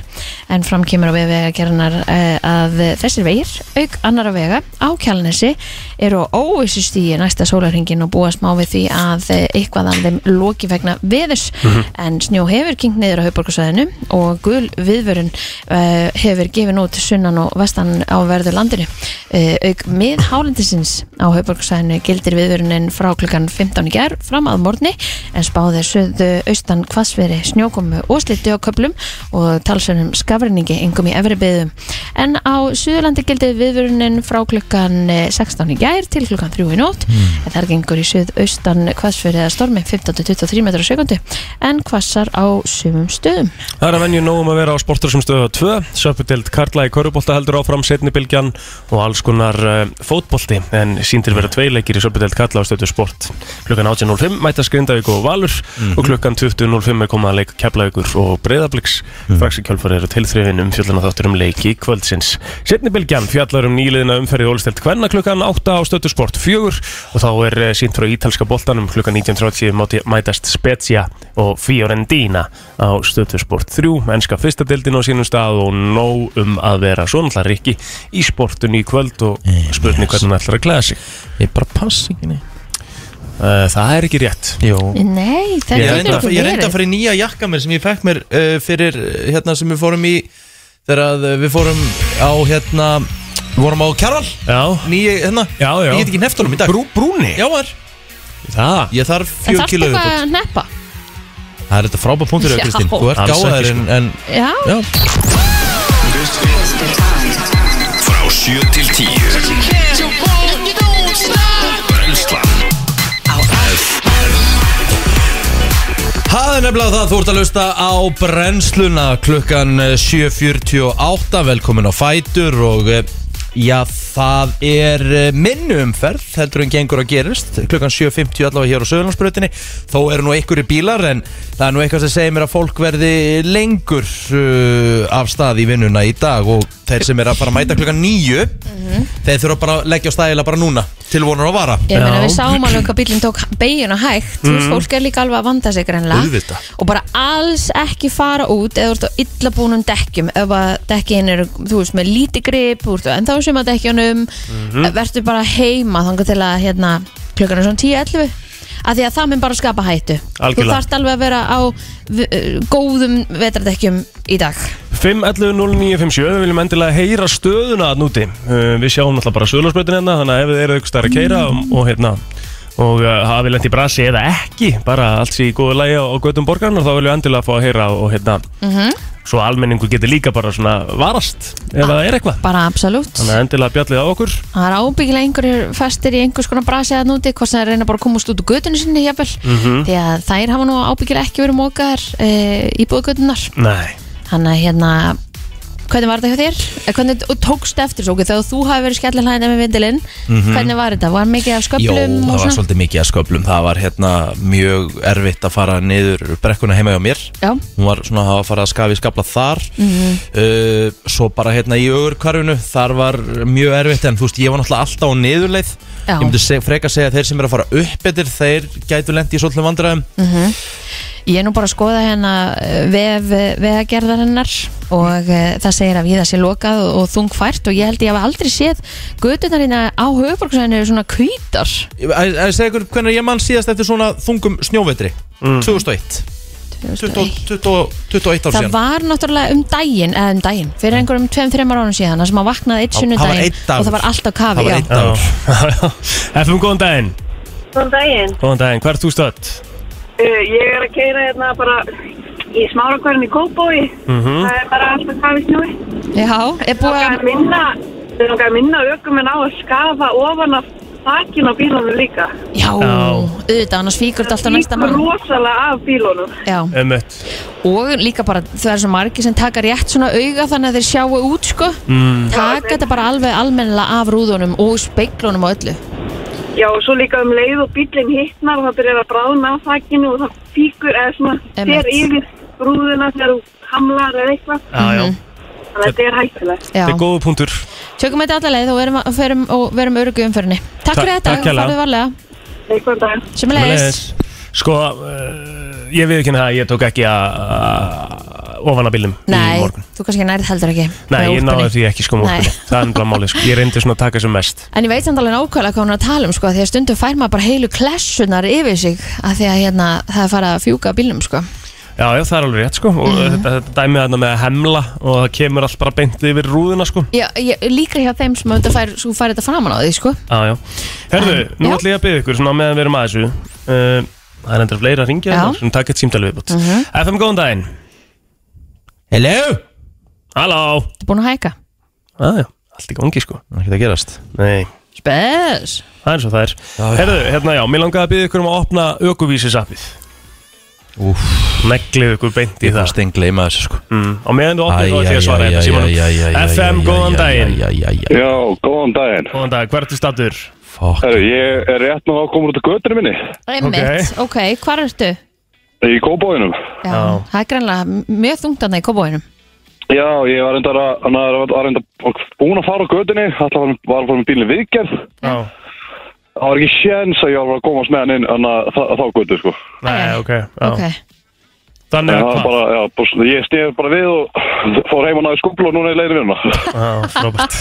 B: en fram kemur á vegagerðanar að þessir vegir auk annara vega á Kjálnesi eru á óvissust í næsta sólarhingin og búa smá við því að eh, eitthvað af þeim loki vegna veðurs en snjó hefur kynkt niður á höfborgarsæðinu og gul viðvörun uh, hefur gefin út sunnan og vestan á verður landinu uh, auk mið hálendisins á höfborgarsæðinu gildir viðvörunin frá klukkan 15 í gerð fram að morgni en spáðir söðu austan hvassveri snjókomu og sliti á köplum og talsunum skafrinningi engum í efri byðum en á Suðurlandi gildið viðvörunin frá klukkan eh, 16 í gær til klukkan 3 í nótt
A: Hmm.
B: en þar gengur í suðaustan hvassfyrir eða stormi 15-23 metrar á sekundu en hvassar á sumum stöðum
C: Það er að venju nógum að vera á sportur sem stöða 2 Söpudeld Karla í Körubólta heldur áfram setni bylgjan og alls konar uh, fótbolti en síndir vera tvei leikir í Söpudeld Karla á stöðu sport klukkan 18.05 mætast Grindavík og Valur og klukkan 20.05 er komað að leik Keflavíkur og Breiðabliks strax í kjálfur eru tilþrifin um fjöldan að þáttur um leiki kvöldsins setni bylgjan fjallar um nýliðina umferði Ólstelt Kvenna klukkan 8 á stöðu sport 4 og þá er uh, sínt frá ítalska boltanum klukkan 19.30 máti- mætast Spezia og Fiorentina á stöðusport 3, ennska fyrsta deildin á sínum stað og nóg um að vera svo náttúrulega Rikki í sportun í kvöld og spurning hvernig hann ætlar að klæða sig
A: Eh, Ég bara pass ekki nei
C: uh, Það er ekki rétt
A: Jó
B: Nei, það
A: Ég
B: getur
A: reynda,
B: ekki
A: ég reynda að
B: verið
A: fara í nýja jakka mér sem ég fekk mér uh, fyrir uh, hérna sem við fórum í þegar að uh, við fórum á hérna við vorum á Kjarval
C: Já,
A: nýja hérna
C: já, já
A: Ég get ekki neftunum í dag
C: Brú, Brúni?
A: Já var
C: Það
A: Ég þarf
B: En
A: fjör
B: þarf
A: kilo
B: eitthvað
A: viðbót.
B: að neppa?
A: Það er þetta frábæð punktur
B: Já.
A: eða Kristín Þú ert
C: Alls ekki,
A: gáðaður en, en
B: Já,
A: Já
E: Frá 7 til 10 Brennslan
A: er nefnilega það, þú ert að lusta á brennsluna klukkan eh, 7.48, velkomin á Fætur og eh, já, það er eh, minni umferð, heldur en gengur að gerist, klukkan 7.50 allavega hér á Söðurlandsbrötinni, þó eru nú einhverju bílar en það er nú eitthvað sem segir mér að fólk verði lengur uh, af stað í vinnuna í dag og þeir sem er að fara að mæta klukkan 9, þeir þurfa bara að leggja á stæðila bara núna, til vonar og vara.
B: Mhm. Ég meina
C: Já.
B: við sáum alveg hvað bílinn tók beigin og hægt mm. Fólk er líka alveg að vanda sig greinlega
A: Hmm. Auðvitað.
B: Og bara alls ekki fara út Eða þú ert á illabúnum dekkjum Ef að dekkin eru, þú veist, með líti grip Þú ert á ennþá sem að dekkjunum
C: Mhm.
B: Eh, Vertu bara heima þangar til að hérna, Klukkan er svona 10-11 Af því að það mun bara skapa hættu Þú
C: Algjörlega.
B: þarft alveg að vera á v- eh, góðum vetradekkjum í dag
C: 5.11.09.57 Við viljum endilega heyra stöðuna að núti uh, Við sjáum náttúrulega bara söðlarsbreytin hérna Þannig að ef þið eru ykkur stær að keira og hérna og uh, hafi lent í brasi eða ekki bara allt sé í góðu lægi á, á götum borgarna þá viljum við endilega fá að heyra og hérna
B: Mhm.
C: svo almenningu getur líka bara svona varast ef það er eitthvað
B: Bara absolutt
C: þannig að endilega bjallið á okkur
B: Það er ábyggilega einhverjir fastir í einhvers konar brasi að núti, hvort sem það reyna bara að komast út úr götunni sinni jafnvel,
C: Mhm.
B: því að þær hafa nú ábyggilega ekki verið mókaðar e, í búðgötunnar.
C: Nei
B: Þannig að hérna, hvernig var þetta hjá þér? Eh, Hvernig og tókst eftir þessu, okay, þegar þú hafi verið skellilæðin með vindilinn, hvernig var þetta? Var mikið af
A: Mhm. Jó,
B: sköplum
A: það
B: og
A: var
B: svona?
A: svolítið mikið að sköplum Það var hérna mjög erfitt að fara niður brekkuna heima hjá mér
B: Já,
A: Hún var svona að fara að skafi skabla þar
F: Mhm.
A: uh, Svo bara hérna í ögurkarfinu Þar var mjög erfitt En þú veist, ég var náttúrulega alltaf á niðurleið
B: Já.
A: Ég myndi seg, freka segja að þeir sem eru að fara upp eftir Þeir gætu lendi í svolítið vandræðum
B: Mhm. ég er nú bara að skoða hérna eh, vef eh, vegagerðarinnar og e, það segir að viða sé lokað og, og þungfært og ég held ég hafa aldrei séð göturnar hérna á höfuborgsveginu eru svona kvítar
A: Ég ég- ég segi ykkur hvernig ég mann síðast eftir svona þungum snjóvetri 2001 20, 20, 21 ár
B: Það
A: síðan
B: var náttúrulega um daginn, eða um daginn, fyrir einhverjum 2-3 ára ánum síðan, þar sem maður vaknaði eitt
A: Það-
B: sunnu
A: það var
B: daginn
A: einn dagur.
B: og það var alltaf kafi,
A: Það var
B: já.
A: einn
C: Já.
A: dagur
C: FM, góðan daginn
G: Góðan daginn.
C: Góðan daginn, hvað er þú stödd?
G: Uh, ég er að keira hérna bara í smárakværin í Kópói. Það er bara alltaf hvað við snjói.
B: Já, er búið að,
G: Það er minna, það er að minna aukumenn á að skafa ofan af þakin á bílunum líka.
B: já,
C: Já.
B: auðvitað, annars fíkur þetta alltaf næsta
G: Það
B: mann.
G: fýkur rosalega af bílunum.
B: Já,
C: Ömmett
B: og líka bara, það er svo margir sem taka rétt svona auga þannig að þeir sjáu út, sko. Mm. Taka þetta bara alveg almennilega af rúðunum og speiklunum og öllu.
G: Já, og svo líka um leið og bílinn hittnar og það byrjar að bráðna á þakinu og það fýkur eða svona
B: Einmitt.
G: fer yfir brúðuna þegar þú hamlar eða eitthvað.
B: Mhm,
C: Já, já,
G: Þannig að þetta er hættilegt.
B: Já,
C: þetta er góða punktur
B: tökum þetta alla leið og verum, verum, og verum öruggu í umferðinni. Takk
C: Ta-
B: fyrir þetta,
C: takk kærlega.
B: farðu varlega.
G: Eitthvað dag.
B: Sumulegis.
C: Sko, uh, ég við ekki hérna að ég tók ekki að- að ofan að bílum í
B: Nei,
C: morgun
B: þú kannski nærið heldur ekki.
C: Nei,
B: með
C: ég náði
B: úlpunni.
C: því ekki sko
B: Nei.
C: múlpunni Það er bara málið sko, ég reyndi svona að taka sem mest
B: En ég veit samt alveg nákvæmlega hvað hún er að tala um sko, því að stundum fær maður bara heilu klessunar yfir sig að því að hérna, það er farið að fjúka á bílnum sko.
C: Já, já, það er alveg rétt sko Og þetta, þetta dæmið þarna með að hemla Og það kemur allt bara beint yfir rúðuna sko
B: Já, ég, líka hjá þeim sem auðvitað fær, sko, fær þetta framan á því sko.
C: Já, já Herðu,
B: En,
C: nú
B: já.
C: ætlum ég að byggja ykkur svona á meðan við erum að þessu uh, Það er endur fleira að ringja
B: Já.
C: þarna, Svona takk eitt símtælu viðbútt FM, góðan daginn
A: Hello
C: Halló
B: Þetta er búin að hækka.
C: Já, já, allt í gangi sko
A: Það er ekki að gerast
C: Nei
B: Spes!
C: Það er eins og það er
A: já.
C: Herðu, hérna já, mér langaði að byggja ykkur um að opna ökuvísisappið
A: Úf,
C: Neglið ykkur beint í
A: ég það
C: það
A: stengleima þessu sko
C: mm. Og meðan þú opnir þá ætlum ég að svara hérna,
A: Æ, æ,
C: þetta
A: æ, æ, æ, æ,
C: símanum
A: æ,
C: FM,
A: æ, æ,
C: góðan
A: æ,
C: daginn
A: æ, æ, æ, æ.
H: Já, góðan daginn.
C: Góðan dag, hvert er statur?
A: Fuck.
H: Herru, ég er rétt nú að koma út af göttinu minni
B: Einmitt, ok, hvar ertu?
H: í Kópáinum.
B: Já,
C: Já.
B: það er greinlega mjög þungt að það í kobóinum.
H: Já, ég var reyndar að, hann var var reyndar búin að fara á göttinu, alltaf var, var að fara með bílinn viðgerð.
C: Já,
H: Það var ekki sjens að ég var að komast með hann inn hann að þa- þá göttu, sko.
C: nei, ok, já.
B: Ok,
H: En
C: Þannig að
H: það var
C: hvað?
H: bara, já, bara, ég snýði bara við og fór heim og náði skúplu og núna er leiðin hérna. vinna.
C: Já, frábært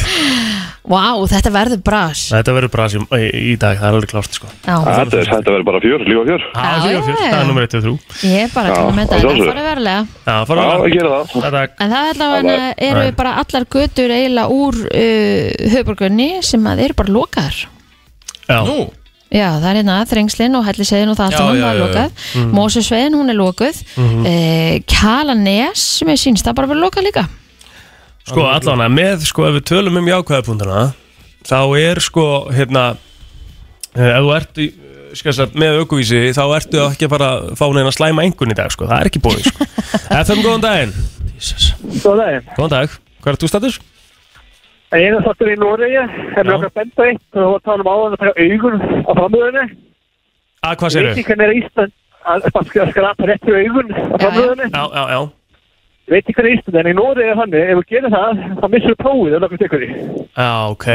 B: wow, þetta verður bras.
C: Þetta verður bara sem í, í dag, það er alveg klárt sko
B: Já,
H: þetta er- þetta verður bara fjör, lífa fjör.
C: Já, því að
B: já,
C: fjör,
B: já.
C: það er nummer 1 og 3
B: ég er bara að
H: Já,
B: tala
H: að
B: með þetta, þetta
H: sjálfsögðu.
B: farið verðilega.
C: Já,
H: Já,
C: fara að
H: ég gera það.
C: Þetta,
B: En það allavega
H: Alveg.
B: eru
C: Nei.
B: bara allar götur eiginlega úr uh, höfburgunni sem að eru bara lokaðar.
C: já,
A: Nú,
B: Já, það er hérna þrengslinn og helliseiðin og það allt
A: Já,
B: saman
A: já,
B: var
A: já, já.
B: lokað. Mm. Mósusveiðin, hún er lokuð. Mm Kjalanes, sem er sínst, það bara verið lokað líka.
C: sko allan að með, sko, ef við tölum um jákvæðapunktana Þá er sko, hérna eh, Ef þú ert í, skessar, með aukuvísi þá ertu ekki að fara að fá neina slæma engun í dag sko. það er ekki búið sko. FM, góðan daginn
F: Góð daginn.
C: Góðan dag, hvað er þú status?
F: Ég er þáttur í Noregi, hef
C: Já.
F: mér okkar benda eitt og þú var að tala um áðan að taka augun á framöðunni.
C: Að hvað
F: Veit
C: segir
F: ekki hvernig er Ísland að að bara skrapa réttur augun á framöðunni.
C: Já, já, já
F: Veit ekki hvernig er Ísland, en í Noregi er þannig, ef þú gerir það, þá missur þú prófið og nokkuð ykkur í.
C: Já, ok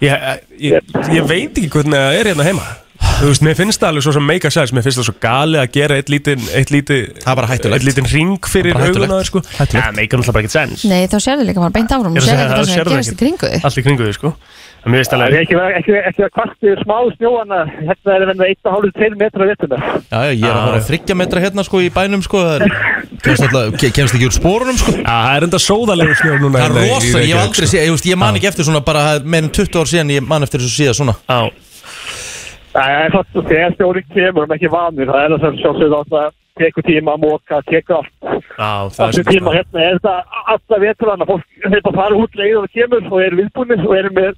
C: ég, ég, ég veit ekki hvernig það er hérna heima Þú veist, mér finnst það alveg svo sem make a sense Mér finnst það svo gali að gera eitt lítinn eitt lítinn
A: Það er bara hættulegt.
C: Eitt lítinn ring fyrir
A: Það er bara
C: augun á
A: hættulegt.
C: þér sko
A: Hættulegt.
C: Það make náttúrulega bara ekkert sense
B: Nei, þá sérðu líka bara beint áfram
C: Ég
B: og
C: er að
B: sérðu ekki það sem er að
C: segja, sérðu
B: gerast í
C: ekkert.
B: kringu þig.
C: Allt í kringu þig sko En Mér finnst
F: Það er
C: alveg
F: ekki verið- ekki verið- ekki að kvart yfir smá snjóana, hérna er venna 1,5-2 metra vettuna.
A: Já, já, ég er að fara að þryggja metra hérna sko í bænum sko Það er, kemst, alltaf, ke- kemst ekki úr spórunum sko
C: Já, það er enda sóðalegur snjór núna
A: Það
C: hérna
A: er
C: í- í
A: rosa, ég hef
C: Reykjavík,
A: aldrei
C: sko.
A: séð, ég, veist, ég man ekki eftir svona bara meðan 20 ár síðan ég man eftir þessu síða svona
C: Já,
F: Það er fast og þegar stjórnir kemur, maður er ekki vanur, það er það sem sjálfsögðu átt að tekur tíma að móka, tekur allt.
C: já, það er
F: Allir tíma hérna er þetta alltaf veturana, fólk þeir bara fara út leið og það kemur og eru viðbúinir og eru með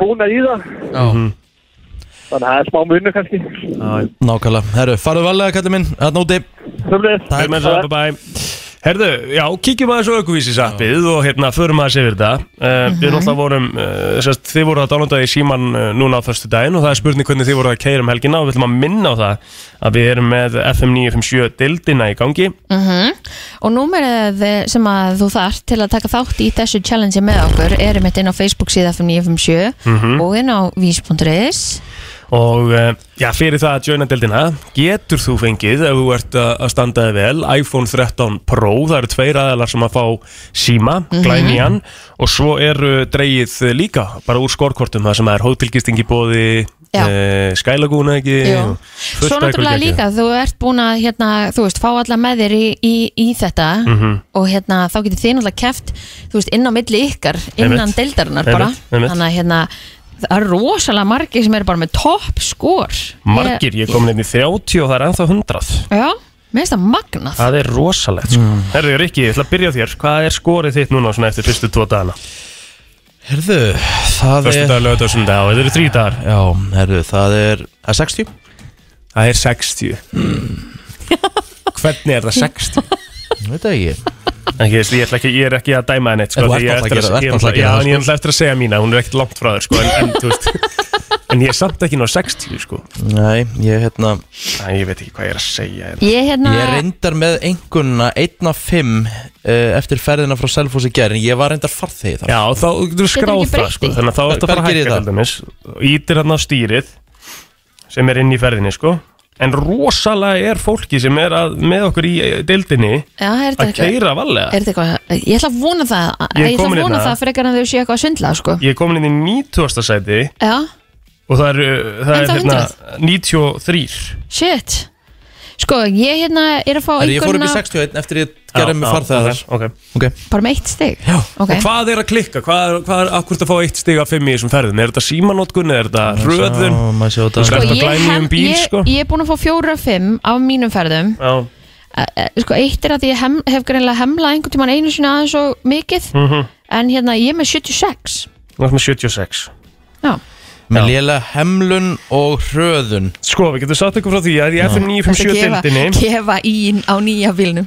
F: búnað í það.
C: Mhm.
A: Já.
F: Þannig að það er smá munur kannski.
C: Já,
A: Nákvæmlega, herru, farðu varlega kallið minn, hann úti
F: Sumleis.
A: Takk.
C: Við með þess að bæ Herðu, já, kíkjum aðeins á aukuvísisappið og hérna, förum aðeins yfir þetta uh, Við náttúrulega vorum, uh, sérst, þið voru að dálanda í síman uh, núna á förstu daginn og það er spurning hvernig þið voru að keira um helgina og við ætlum að minna á það að við erum með FM 957 dildina í gangi
B: Og númerið sem að þú þart til að taka þátt í þessu challenge með okkur erum mitt inn á Facebook síða 5957
C: Mm.
B: og inn á vís.is
C: og uh, já, fyrir það að joina dildina getur þú fengið ef þú ert að að standaði vel iPhone 13 Pro, það eru tveir aðalar sem að fá síma,
B: Mhm.
C: glænían og svo eru dreigið líka bara úr skorkortum, það sem er hótelgisting í bóði
B: Já.
C: uh, skælagúna ekki og fullt
B: Svo
C: af ykkur
B: náttúrulega
C: ekki.
B: líka, þú ert búin að hérna, þú veist, fá alla með þér í, í, í þetta
C: Mhm.
B: og hérna, þá getur þið náttúrulega keft þú veist, inn á milli ykkar, innan
C: Einmitt.
B: deildarinnar bara
C: Einmitt, einmitt.
B: Þannig að hérna, það er rosalega margir sem eru bara með topp skor
C: margir, ég kom nefn í 30 og það er ennþá 100
B: Já, mér finnst það magnað
C: það er rosalegt sko.
B: Mm.
C: Herðu Rikki, ég ætla að byrja á þér hvað er skorið þitt núna svona eftir fyrstu tvo dagana?
A: Herðu, það
C: Fyrstu
A: er
C: dag, lögðu og sundag, þetta eru þrý dagar
A: Já, herðu, það er, það er 60
C: Það er 60 Hvernig er það 60?
A: Ég veit það ekki
C: Ekki, veist, ég, ætla ekki, ég er ekki að dæma henni neitt, sko,
A: En þú
C: því
A: ert
C: ég er
A: náttúrulega
C: eftir
A: að gera-
C: ég
A: ert
C: er náttúrulega-
A: náttúrulega
C: Já,
A: að
C: en
A: gera það, sko.
C: ég er náttúrulega eftir að segja mína Hún er ekkert langt frá þér sko, en, en, þú veist, en ég er samt ekki ná 60 sko.
A: Nei, ég hérna
C: Æ, Ég veit ekki hvað ég er að segja hérna.
B: Ég hérna,
A: Ég reyndar með einhverjuna 1 af 5 uh, eftir ferðina frá Selfoss í gerð en ég var reyndar farþegi þar
C: Já, þá getur þú skráð
B: ekki
C: það
B: breytt
C: sko,
B: því?
C: Þannig að þá
A: Hvað-
C: ertu að fara
A: hvað
C: að
A: gerir
C: hækka
A: það?
C: til dæmis Ítir hann á stýrið sem er inn í ferðinni sko. En rosalega er fólki sem er að, með okkur í eh, deildinni
B: já, er þetta
C: að keira valega
B: Er þetta eitthvað, ég ætla að vona það Ég,
C: Ég er
B: ætla
C: komin
B: að vona
C: hérna.
B: það frekar en þau séu eitthvað að svindla sko.
C: Ég er komin inn í 90. sæti
B: Já,
C: og það er, uh, það er
B: Ennþá
C: hérna, 93
B: shit Sko, ég hérna er að fá
A: Herru, Ég fór upp í
B: einhverjuna
A: 61 eftir ég gerði mig farþegi þar
C: okay.
A: Ok,
B: bara með eitt stig
A: Já.
B: okay.
C: Og hvað er að klikka? Hvað er, hvað er akkur að fá eitt stig af fimm í þessum ferðum? Er þetta símanótkun? Er þetta röðun?
A: Sjá, maður sjá þetta.
C: Þú
B: Sko,
C: Þetta
B: ég,
C: glænýjum
B: hef-
C: bíl,
B: ég,
C: sko.
B: ég er búin að fá fjóra og fimm af mínum ferðum
C: Já,
B: Eh, eh, sko, eitt er að ég hem, hef greinlega hemlað einhvern tímann einu sinni aðeins og mikið
C: Mhm.
B: en hérna ég er með 76
C: þú ert með 76
B: já,
A: með lélega hemlun og hröðun
C: Sko, við getum sagt ykkur frá því að í FM
B: Þetta
C: 957
B: gefa,
C: dildinni
B: gefa ín á nýja bílnum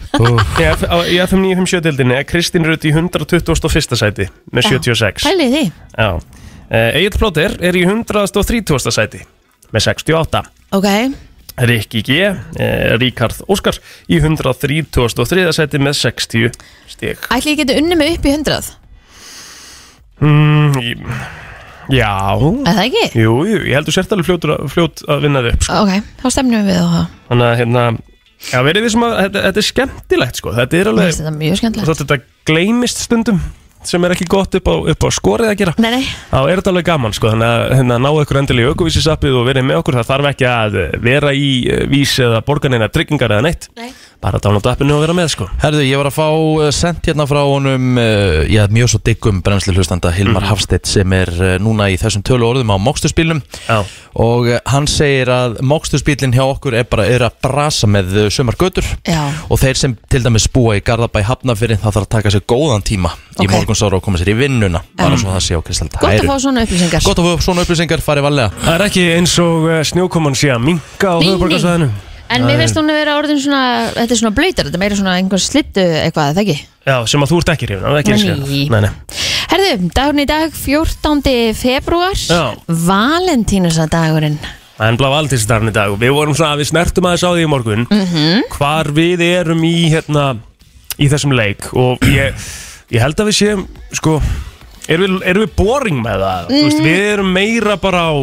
C: Í F- á- í FM 957 dildinni er Kristín Rutt í 121. sæti með 76
B: pælið þið,
C: Já Egil Plóter er í 130. sæti með 68
B: ok
C: Rikki G, eh, Ríkard Óskar í 133. sæti með 60 stig
B: ætli ég geti unni mig upp í 100
C: mm, í- Já,
B: er það ekki?
C: Jú, jú, ég heldur sért alveg fljótur að, fljót að vinna þið upp sko.
B: ok, þá stemnum við og það
C: Þannig að hérna Já, verið við sem að þetta, þetta er skemmtilegt sko. Þetta
B: Mér
C: er
B: finnst
C: alveg
B: þetta mjög skemmtilegt
C: Þótt þetta gleymist stundum sem er ekki gott upp á, upp á skorið að gera
B: Nei, nei,
C: þá er þetta alveg gaman sko þannig að hérna, ná ykkur endilega í aukuvísisappið og verið með okkur það þarf ekki að eh, vera í eh, vís eða borgarneina tryggingar eða neitt
B: Nei.
C: bara dánáta appinu og vera með sko
A: Herðu, ég var að fá eh, sent hérna frá honum uh, já, mjög svo diggum bremsli hlustanda Hilmar Hafstedt sem er uh, núna í þessum tölu orðum á mókstusbílnum
C: Já.
A: og uh, hann segir að mókstusbílinn hjá okkur er bara er að brasa með uh, sumar götur
B: Já.
A: og þeir sem til dæmis búa í Garðabæ Hafnafyrir það þarf að taka sér góðan tíma í
B: Ok.
A: morgunsára og koma sér í vinnuna bara svo það sé á kristallt
B: Gott að fá svona upplýsingar
A: Gott að fá svona upplýsingar, farið valega
C: Það er ekki eins og uh, snjókoman sé að minka á
B: Nei, nei.
C: höfuborgarsvæðinu
B: En mér finnst hún að vera orðin svona Þetta er svona blöytar, þetta er meira svona einhver slittu eitthvað, er það ekki?
C: Já, sem að þú ert ekki hrifin af, ekki eins og
B: Nei.
C: hérna. nei, nei.
B: Herðu, dagurinn í dag, 14. februar
C: Já.
B: Valentínusadagurinn
C: Það er ennblá valdinsdarfin í dag og við vorum svona að við snertum aðeins á því í morgun
B: Mhm.
C: -hmm. hvar við erum í hérna í þessum leik og ég, ég held að við séum sko, erum við, erum við boring með það mm.
B: Mhm.
C: veist, við erum meira bara á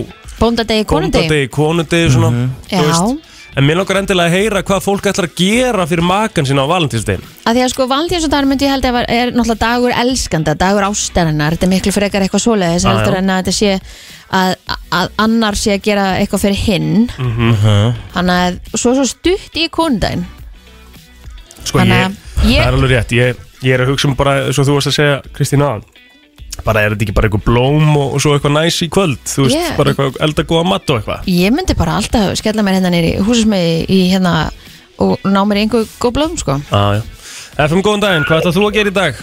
B: Bóndadegi, konundegi
C: bóndadegi, konundegi svona, þú
B: Já.
C: en mér langar endilega að heyra hvað fólk ætlar að gera fyrir makan sinna á valdinsdegin
B: að Því að sko valentínusadagurinn myndi ég held að var- er náttúrulega dagur elskanda, dagur ástarinnar Þetta er miklu frekar eitthvað svoleiðis
C: Já,
B: heldur
C: já.
B: en að þetta sé að, að annar sé að gera eitthvað fyrir hinn
C: Mm.
B: Þannig að svo er svo stutt í konundaginn
C: Sko
B: Þannig
C: ég,
B: að ég-
C: það er alveg rétt Ég, ég er að hugsa um bara, svo þú varst að segja Kristín aðan Bara er þetta ekki bara eitthvað blóm og, og svo eitthvað næs í kvöld Þú veist,
B: Ég-
C: bara eitthvað elda góða mat og eitthvað
B: Ég myndi bara alltaf skella mér hérna nýri húsismegi í hérna og ná mér í einhver góð blóm sko
C: ah, FM, góðan daginn, hvað ætlað þú að gera í dag?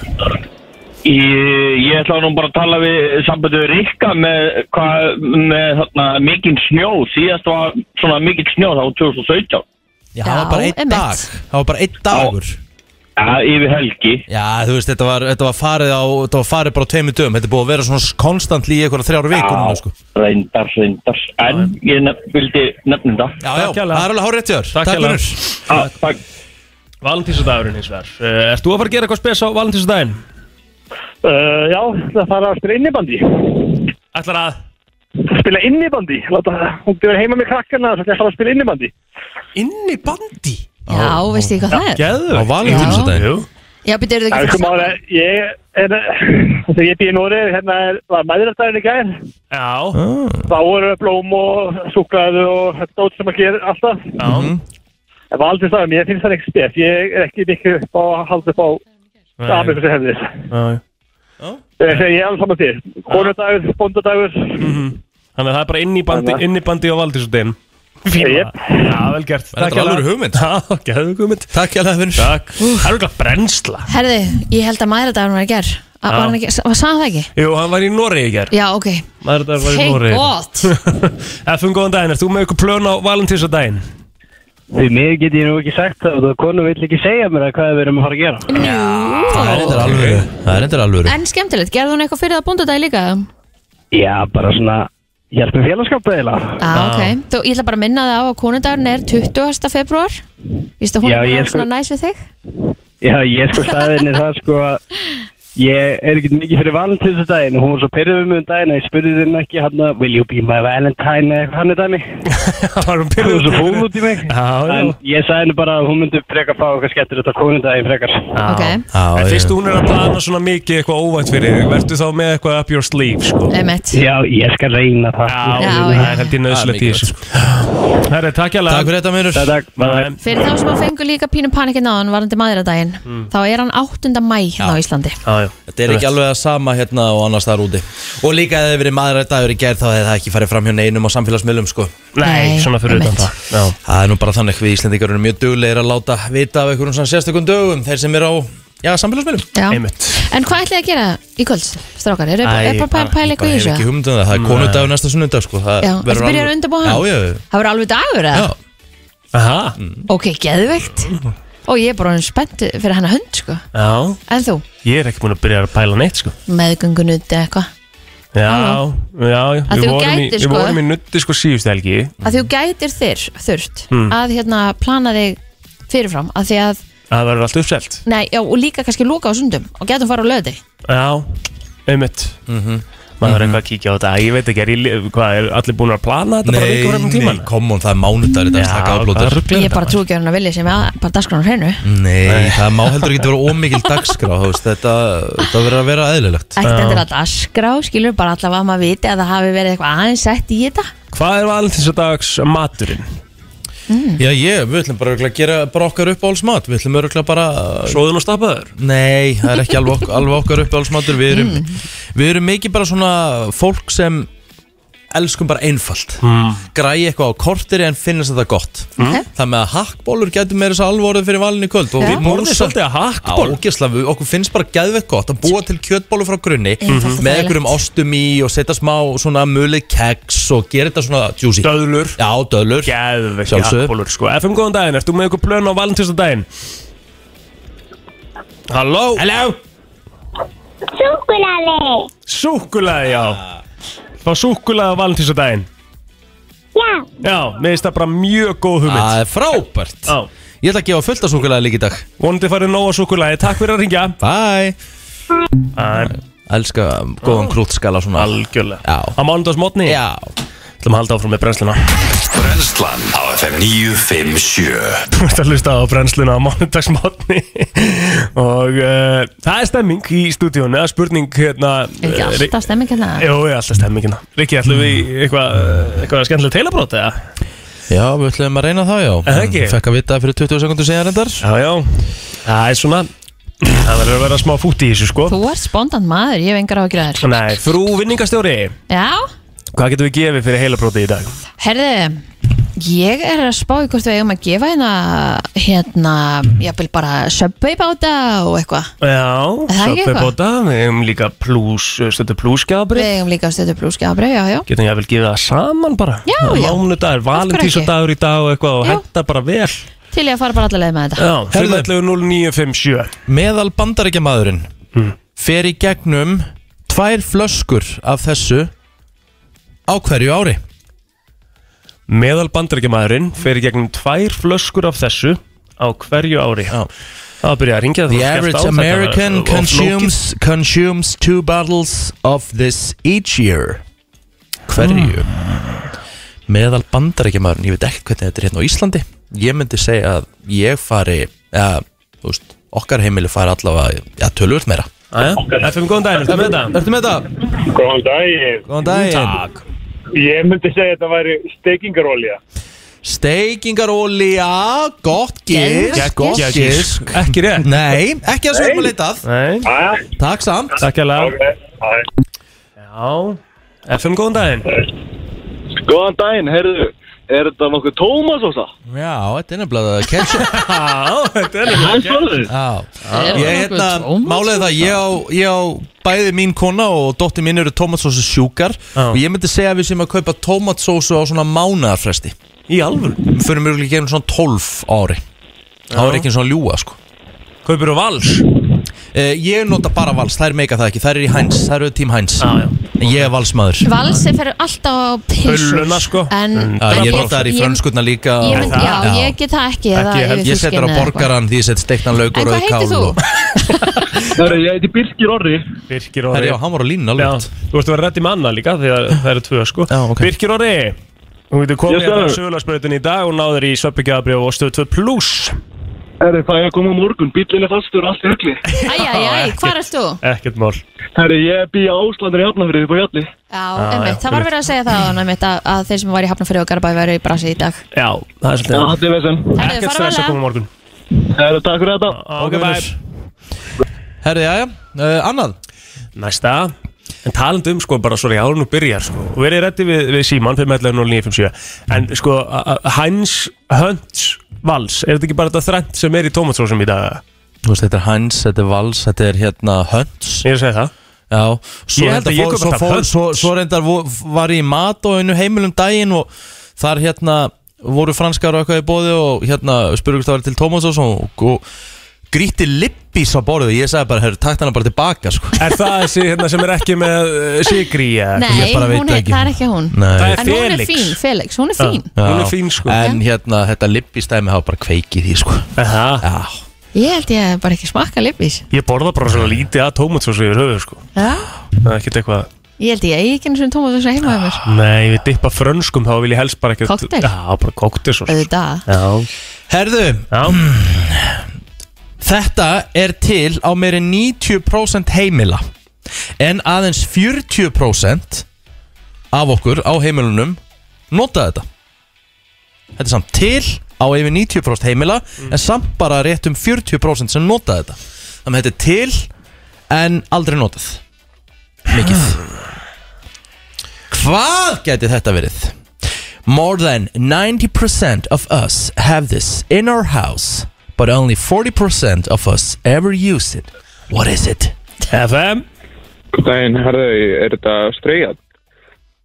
I: Ég, ég ætla nú bara að tala við sambandu Rikka með, hvað, með þarna, mikinn snjó. Síðast var svona mikinn snjó, það var 2017.
A: Já, það var bara einn
B: einmitt.
A: dag Það var bara einn dagur
I: Já, yfir helgi.
A: Já, þú veist, þetta var, þetta var farið á Þetta var farið bara á tveimur dögum Þetta er búið að vera svona konstant í einhverja þrjár vikur núna, sko.
I: reyndar, reyndar. En ég nef vildi nefnum það.
A: Já, já,
C: Takk
A: það
C: hérlega.
A: er alveg hárið til þér
C: Takk hérlega.
A: Unnur.
I: Ah, takk.
C: Valentísadagurinn hins vegar uh, Ert þú að fara að gera eitthvað spes á valentísadaginn?
F: Uh, já, það fara að spila innibandi.
C: Ætlar að
F: Spila innibandi. Láta, hún byrjar heima með krakkana og það fara að spila innibandi.
C: inn í bandi?
B: Já, veist ég hvað það er?
C: Geðu
A: Á Valentínusdaginn?
C: Jú
B: Já, betur eru þau
F: Það
B: ekki
F: er sko máli, ég er, þegar ég býð í Nóri, hérna er, var mæðurastæðin í gæðin.
C: Já,
F: Þá voru blóm og súklaðu og þetta út sem að gera alltaf.
C: já
F: En valdinsdæðum, ég finnst það ekki spes. Ég er ekki mikið upp á að halda upp á
C: Nei,
F: aflöfum sem hefðis.
C: Ah, já.
F: Þegar ég er alveg saman til. Konundagur, bóndadagur.
C: Mhm. Þannig að það er bara inn í bandi, inn í bandi á valentísadaginn
F: Jep.
C: Já, vel gert
A: Þetta er alveg hugmynd
C: Já, geðu hugmynd
A: Takk hjá það, vinnur
C: Takk Það er eitthvað brennsla
B: Herði, ég held að maðuradagur var í ger Var hann ekki, var sagði hann það ekki?
C: Jú, hann var í Noregi í gerð
B: Já, ok
C: Maður þetta var í
B: Thank
C: Noregi
B: God
C: Efum góðan daginn, ert þú með ykkur plön á valentísadaginn?
J: Því mig get ég nú ekki sagt það og það konu vill ekki segja mér að hvað við erum að fara að gera.
A: Það er
B: Nú
A: endur alvöru Það er endur alvöru
B: En skemmtilegt, gerði hún eitthvað fyrir það bóndadagi líka?
J: Já, bara svona, hjálp með félagskap eiginlega.
B: Já, Ah, ok Þú, ég ætla bara að minna það á að konundagurinn er 20. februar Vístu að hún
J: Já,
B: er
J: ég
B: bara
J: sko-
B: svona næs við þig?
J: Já, ég sko staðinni það sko að ég er ekkert mikið fyrir valentínsdaginn og hún var svo pyrruð um daginn að ég spurði þinn ekki hann að will you be my valentine eða eitthvað hann er dæmi.
C: Það var
J: Hún
C: um
J: var
C: pyrrður
J: svo fúl út í mig.
C: Já, já
J: En ég sagði henni bara að hún myndi frekar fá eitthvað skettir þetta konundaginn frekar.
B: Ok,
A: Já,
C: En
A: já.
C: fyrst hún er að plana svona mikið eitthvað óvænt fyrir þig Vertu þá með eitthvað up your sleeve, sko
B: einmitt
J: Já, ég skal reyna það.
C: Já,
B: Já,
C: það
B: já.
C: er held ég nöðslegt í þessu sko. Herri, takk hjá
A: Takk fyrir þetta, vinnur
J: Takk, takk. Bye, bye.
B: Fyrir þá sem að fengu líka pínu panikinn á hann varandi maðuradaginn Þá er hann 8. mæ hérna á Íslandi
C: Mm. Já, já
A: Þetta er ekki alveg að sama hérna og annars þar úti Og líka ef það hefði verið maður að dagur í gerð þá hefði það ekki farið fram hjá neinum á samfélagsmiðlum sko
C: Nei,
B: Nei,
C: svona fyrir utan
B: einmitt.
C: það Já,
A: Það er nú bara þannig við Íslendingar erum mjög duglegir að láta vita af einhverjum svona sérstökum dögum þeir sem eru á, já, samfélagsmiðlum
B: Já.
C: einmitt
B: En hvað ætlið þið að gera í kvöld, strákar? Er
C: Æ,
B: bara að pæla
A: Ég bara
B: eitthvað í
A: hef ekki
B: þessu?
A: hugmynd um það, það er konudagur næsta sunnudag sko Það
B: Já,
A: verður
B: ertu byrjar að
A: alveg-
B: undirbúa hann?
A: Já, já,
B: Það verður alveg dagur, eða?
A: já
C: Aha,
J: Mm.
B: Ok, geðveikt Og ég er bara hann spennt fyrir hennar hund, sko
C: já
B: En þú,
C: Ég er ekki búin að byrja að pæla neitt, sko
B: meðgöngu nuti eitthvað
C: Já, já, já
B: Að
C: Við
B: þú
C: vorum í-
B: gætir,
C: við
B: sko.
C: vorum í nutti, sko, síðustu helgi
B: Að þú gætir þér, þurft
A: Hmm.
B: Að hérna plana þig fyrirfram Að því að,
C: Það verður allt uppselt
B: nei, já, og líka kannski loka á sundum Og gætum fara á löði
C: Já, einmitt
A: Mhm.
C: Maður er eitthvað að kíkja á þetta Ég veit ekki, er, ég, hvað, er allir búin að plana þetta bara vikur fram um
A: Nei,
C: tíman?
A: nei, kom on, það er mánudagur í dag, slaka afblótar
B: Ég bara trú ekki á hann að vilja sem að bara dagskránu hreinu
A: Nei, það má heldur ekki vera ómikil dagskrá þú veist, Þetta, þetta verður að vera eðlilegt
B: Ætti þetta er að dagskrá, skilur bara allavega að maður viti að það hafi verið eitthvað aðeins sett í þetta
C: Hvað er valentinsadags maturinn?
A: Mm. Já, ég, við ætlum bara örugglega að gera bara okkar uppáhaldsmat Við ætlum örugglega bara
C: Svoðun og stappaður?
A: Nei, það er ekki alveg, ok- alveg okkar uppáhaldsmatur Við erum,
C: Mm.
A: við erum mikið bara svona fólk sem elskum bara einfalt
C: Mm.
A: Græi eitthvað á korteri en finnast þetta gott
C: Ok.
A: Það með að hakkbólur getur meira þess að alvorið fyrir valinu í kvöld og
C: Já.
A: við
C: Við borðum
A: borðum
C: svolítið að hakkból.
A: Já, ógeðslega, við- okkur finnst bara gæðveitt gott að búa til kjötbólur frá grunni
C: Einfalt og
A: með
C: þægilegt.
A: einhverjum ostum í og setja smá svona mulið keks og gera þetta svona juicy
C: Döðlur
A: Já, döðlur
C: Gæðvekki
A: Sjálfsögðu.
C: hakkbólur sko FM góðan daginn, ertu með eitthvað plön á valentínsdaginn? Halló Halló
K: Súkulali,
C: Súkulaði, já Fá súkulaði á valentínsdaginn
K: já,
C: Já, mér finnst það bara mjög góð hugmynd
A: Það er frábært
C: Já
A: Ég ætla að gefa fullt af súkulaði líka í dag
C: Vonandi farið nóg á súkulaði, takk fyrir að ringja
A: Bye
C: Bye
A: Elska um, góðan krútskala svona
C: Ah. Algjörlega
A: Já
C: Á mánudagsmotni
A: Já
C: Þú ætlum að halda áfram með brennsluna
E: Brennslan á FM 957
C: Þú ert að hlusta á brennsluna á mánudagsmotni Og uh, það er stemming í stúdíónu Það er spurning hérna
B: Er ekki
C: eh,
B: alltaf stemming hérna?
C: Jó, ég er alltaf stemmingina Rikki, ætlum við
A: Mm.
C: í eitthvað eh, eitthvað skemmtilega teilabrót eða?
A: Já, við ætlum að reyna það, já
C: Er það ekki?
A: Fekk að vita það fyrir 20 sekundur síðan reyndar
C: Já, já Það er svona Það verður að vera smá fútt í þessu sko
B: Þú ert spondant maður, ég hef engar á að gera þér
C: Nei, frú vinningastjóri
B: Já,
C: Hvað getum við gefið fyrir heilabróti í dag?
B: herði Ég er að spá í hvort við eigum að gefa hérna hérna, jafnvel bara söpvei báta og eitthvað
C: Já,
B: Er það ekki eitthvað?
C: söpbebóta Við hefum líka plus, stöttu
B: Við
C: plusgjafabri
B: eigum líka stöðu blúskjafri, já, já
C: Getum ég að vel gefið það saman bara
B: Já, já.
C: Mánudagur, valentísadagur í dag og eitthvað og henda bara vel
B: Til ég að fara bara alla leið með þetta
C: Já,
A: Herðu.
C: 0957
A: Meðal bandaríkja maðurinn
C: Hmm.
A: fer í gegnum tvær flöskur af þessu á hverju ári
C: Meðal bandaríkjamaðurinn fer í gegnum tvær flöskur af þessu á hverju ári Já Það byrja að ringja
A: The average American consumes, consumes two bottles of this each year Hverju? Meðal bandarækjamaðurinn, ég veit ekkert hvernig þetta er hérna á Íslandi Ég myndi segja að ég fari, eða, þú veist, okkar heimili fari allavega, ja, tölvöld meira
C: Aja, FM, góðan daginn, ertu með þetta?
A: Ertu með þetta?
L: Góðan daginn.
A: Góðan daginn.
C: Takk.
L: Ég myndi segja að þetta væri steikingarolja.
A: Steikingarolja, gott gisk,
L: Geðveikt
A: gott
L: gisk.
A: gisk
C: Ekki rétt
A: Nei, ekki það sem við erum að leita að
C: Nei
A: Takk samt
C: Takk ég
L: lega
C: Já FM, góðan daginn
M: Góðan daginn, heyrðu Er þetta nokkuð Tómas ósa?
A: Já, þetta er nefnilega ketchup
C: Já, þetta er
M: nefnilega ketchup.
A: Já,
M: Er
A: ég
M: það
A: hérna,
M: nokkuð tómatsósa?
A: málið er það, ég á, ég á bæði mín kona og dóttir mín eru tómatsósu sjúkar og ég myndi segja að við sem að kaupa tómatsósu á svona mánaðarfresti
C: Í alvöru?
A: Fyrir mjög ekki svona 12 ári Þá er ekki svona ljúa sko Eh,
C: Kaupir þú vals?
A: ég nota bara vals, þær meika það ekki, þær eru í hæns, þær eru tím hæns ah, En ég er valsmaður
B: Valsi fer alltaf á pilsur En
A: Já,
B: en
A: Eh, Ég nota þær í frönskutna líka
B: Ég,
A: og-
B: mynd, já, ég get það ekki eða
A: Ekki,
B: yfir
A: ég, ég set þær á
B: fiskinn eða eitthvað.
A: borgaran því ég set steiktan
B: En
A: lauk
B: hvað
A: og rauð
B: heitir
A: kál
B: þú?
A: og...
C: Hörru, ég heiti Birkir Orri Birkir Orri
A: Herri, já, hann var á línu alveg
C: Já, þú ert að vera rétt í manna líka því að það eru tvö sko Já, ok Birkir Orri Þú veitur
M: Yes,
C: komið hérna á
M: sir.
C: sögulegsbreytin í dag og náður í söpbyggjafabrjöf og stöð 2 pluss
M: Herri, það er að koma á morgun, bíllinn er fastur, allt er hugli
B: Æjæjæj, hvað erst þú?
C: Ekkert mál
M: Herri, ég bý á Áslandur í Hafnafrið upp á Hjalli
B: Já,
C: Já,
B: einmitt,
C: já,
B: það var verið að segja það áðan, einmitt, að, að þeir sem var í Hafnarfyrir og Garabæði væri í brasi í dag
C: Já, það er svolítið
M: Já, þetta er vesen
B: Herri,
C: Ekkert
B: fara
C: stress
B: varlega.
C: að koma á morgun
M: Herri, takk fyrir þetta
C: Ok, bye
A: Herri, Eh, já, já, annað
C: Næsta En talandi um sko bara sorry, árun og byrjar sko og verið rétti við, við Síman 511-0957 en sko a- a- Heinz Hunts Vals er þetta ekki bara þetta þrænt sem er í tomatsósum í dag?
A: Þú veist, þetta er Hans, þetta er Vals, þetta er hérna Hunts
C: Ég segi það
A: Já, svo,
C: Ég held
A: reyndar
C: að ég
A: fór-
C: kaupi
A: svo,
C: alltaf
A: fór,
C: Hunts.
A: svo, svo reyndar vo- var ég í mat og einu heimilum um daginn og þar hérna voru franskar og eitthvað í bóði og hérna spurðum það var til Tómas og svo og gríti lippis á borðið ég sagði bara, herru, takt hana bara tilbaka sko.
C: Er það þessi hérna sem er ekki með uh, sigri í eða?
B: Nei, hún er, það er ekki hún
A: Nei. Það er
B: En hún er
A: Felix.
B: fín, Felix, hún er fín
A: Já.
C: Hún er fín, sko.
A: En hérna, þetta lippistæmi hafa bara kveikið í sko.
C: Aha.
B: Ég held ég hef bara ekki smakka lippis
C: Ég borða bara svona lítið að tomatsósu yfir höfuð sko
B: Já,
C: Það er ekkert eitthvað
B: ég held ég, ég ekki einu svona tómat þess að heima hefur
C: Nei, við dippa frönskum þá vil ég helst bara ekkert
B: Kokteil?
C: Já, bara koktel svo sko.
B: Auðvitað
C: Já
A: Herðu
C: Já
A: Þetta er til á meiri 90% heimila En aðeins 40% af okkur á heimilunum nota þetta Þetta er samt til á yfir 90% heimila En samt bara rétt um 40% sem nota þetta Þannig að þetta er til En aldrei notað Mikið Hvað gæti þetta verið? More than 90% of us have this in our house But only 40% of us ever use it What is it?
C: FM
L: Dæin, herðu, er þetta streyjað?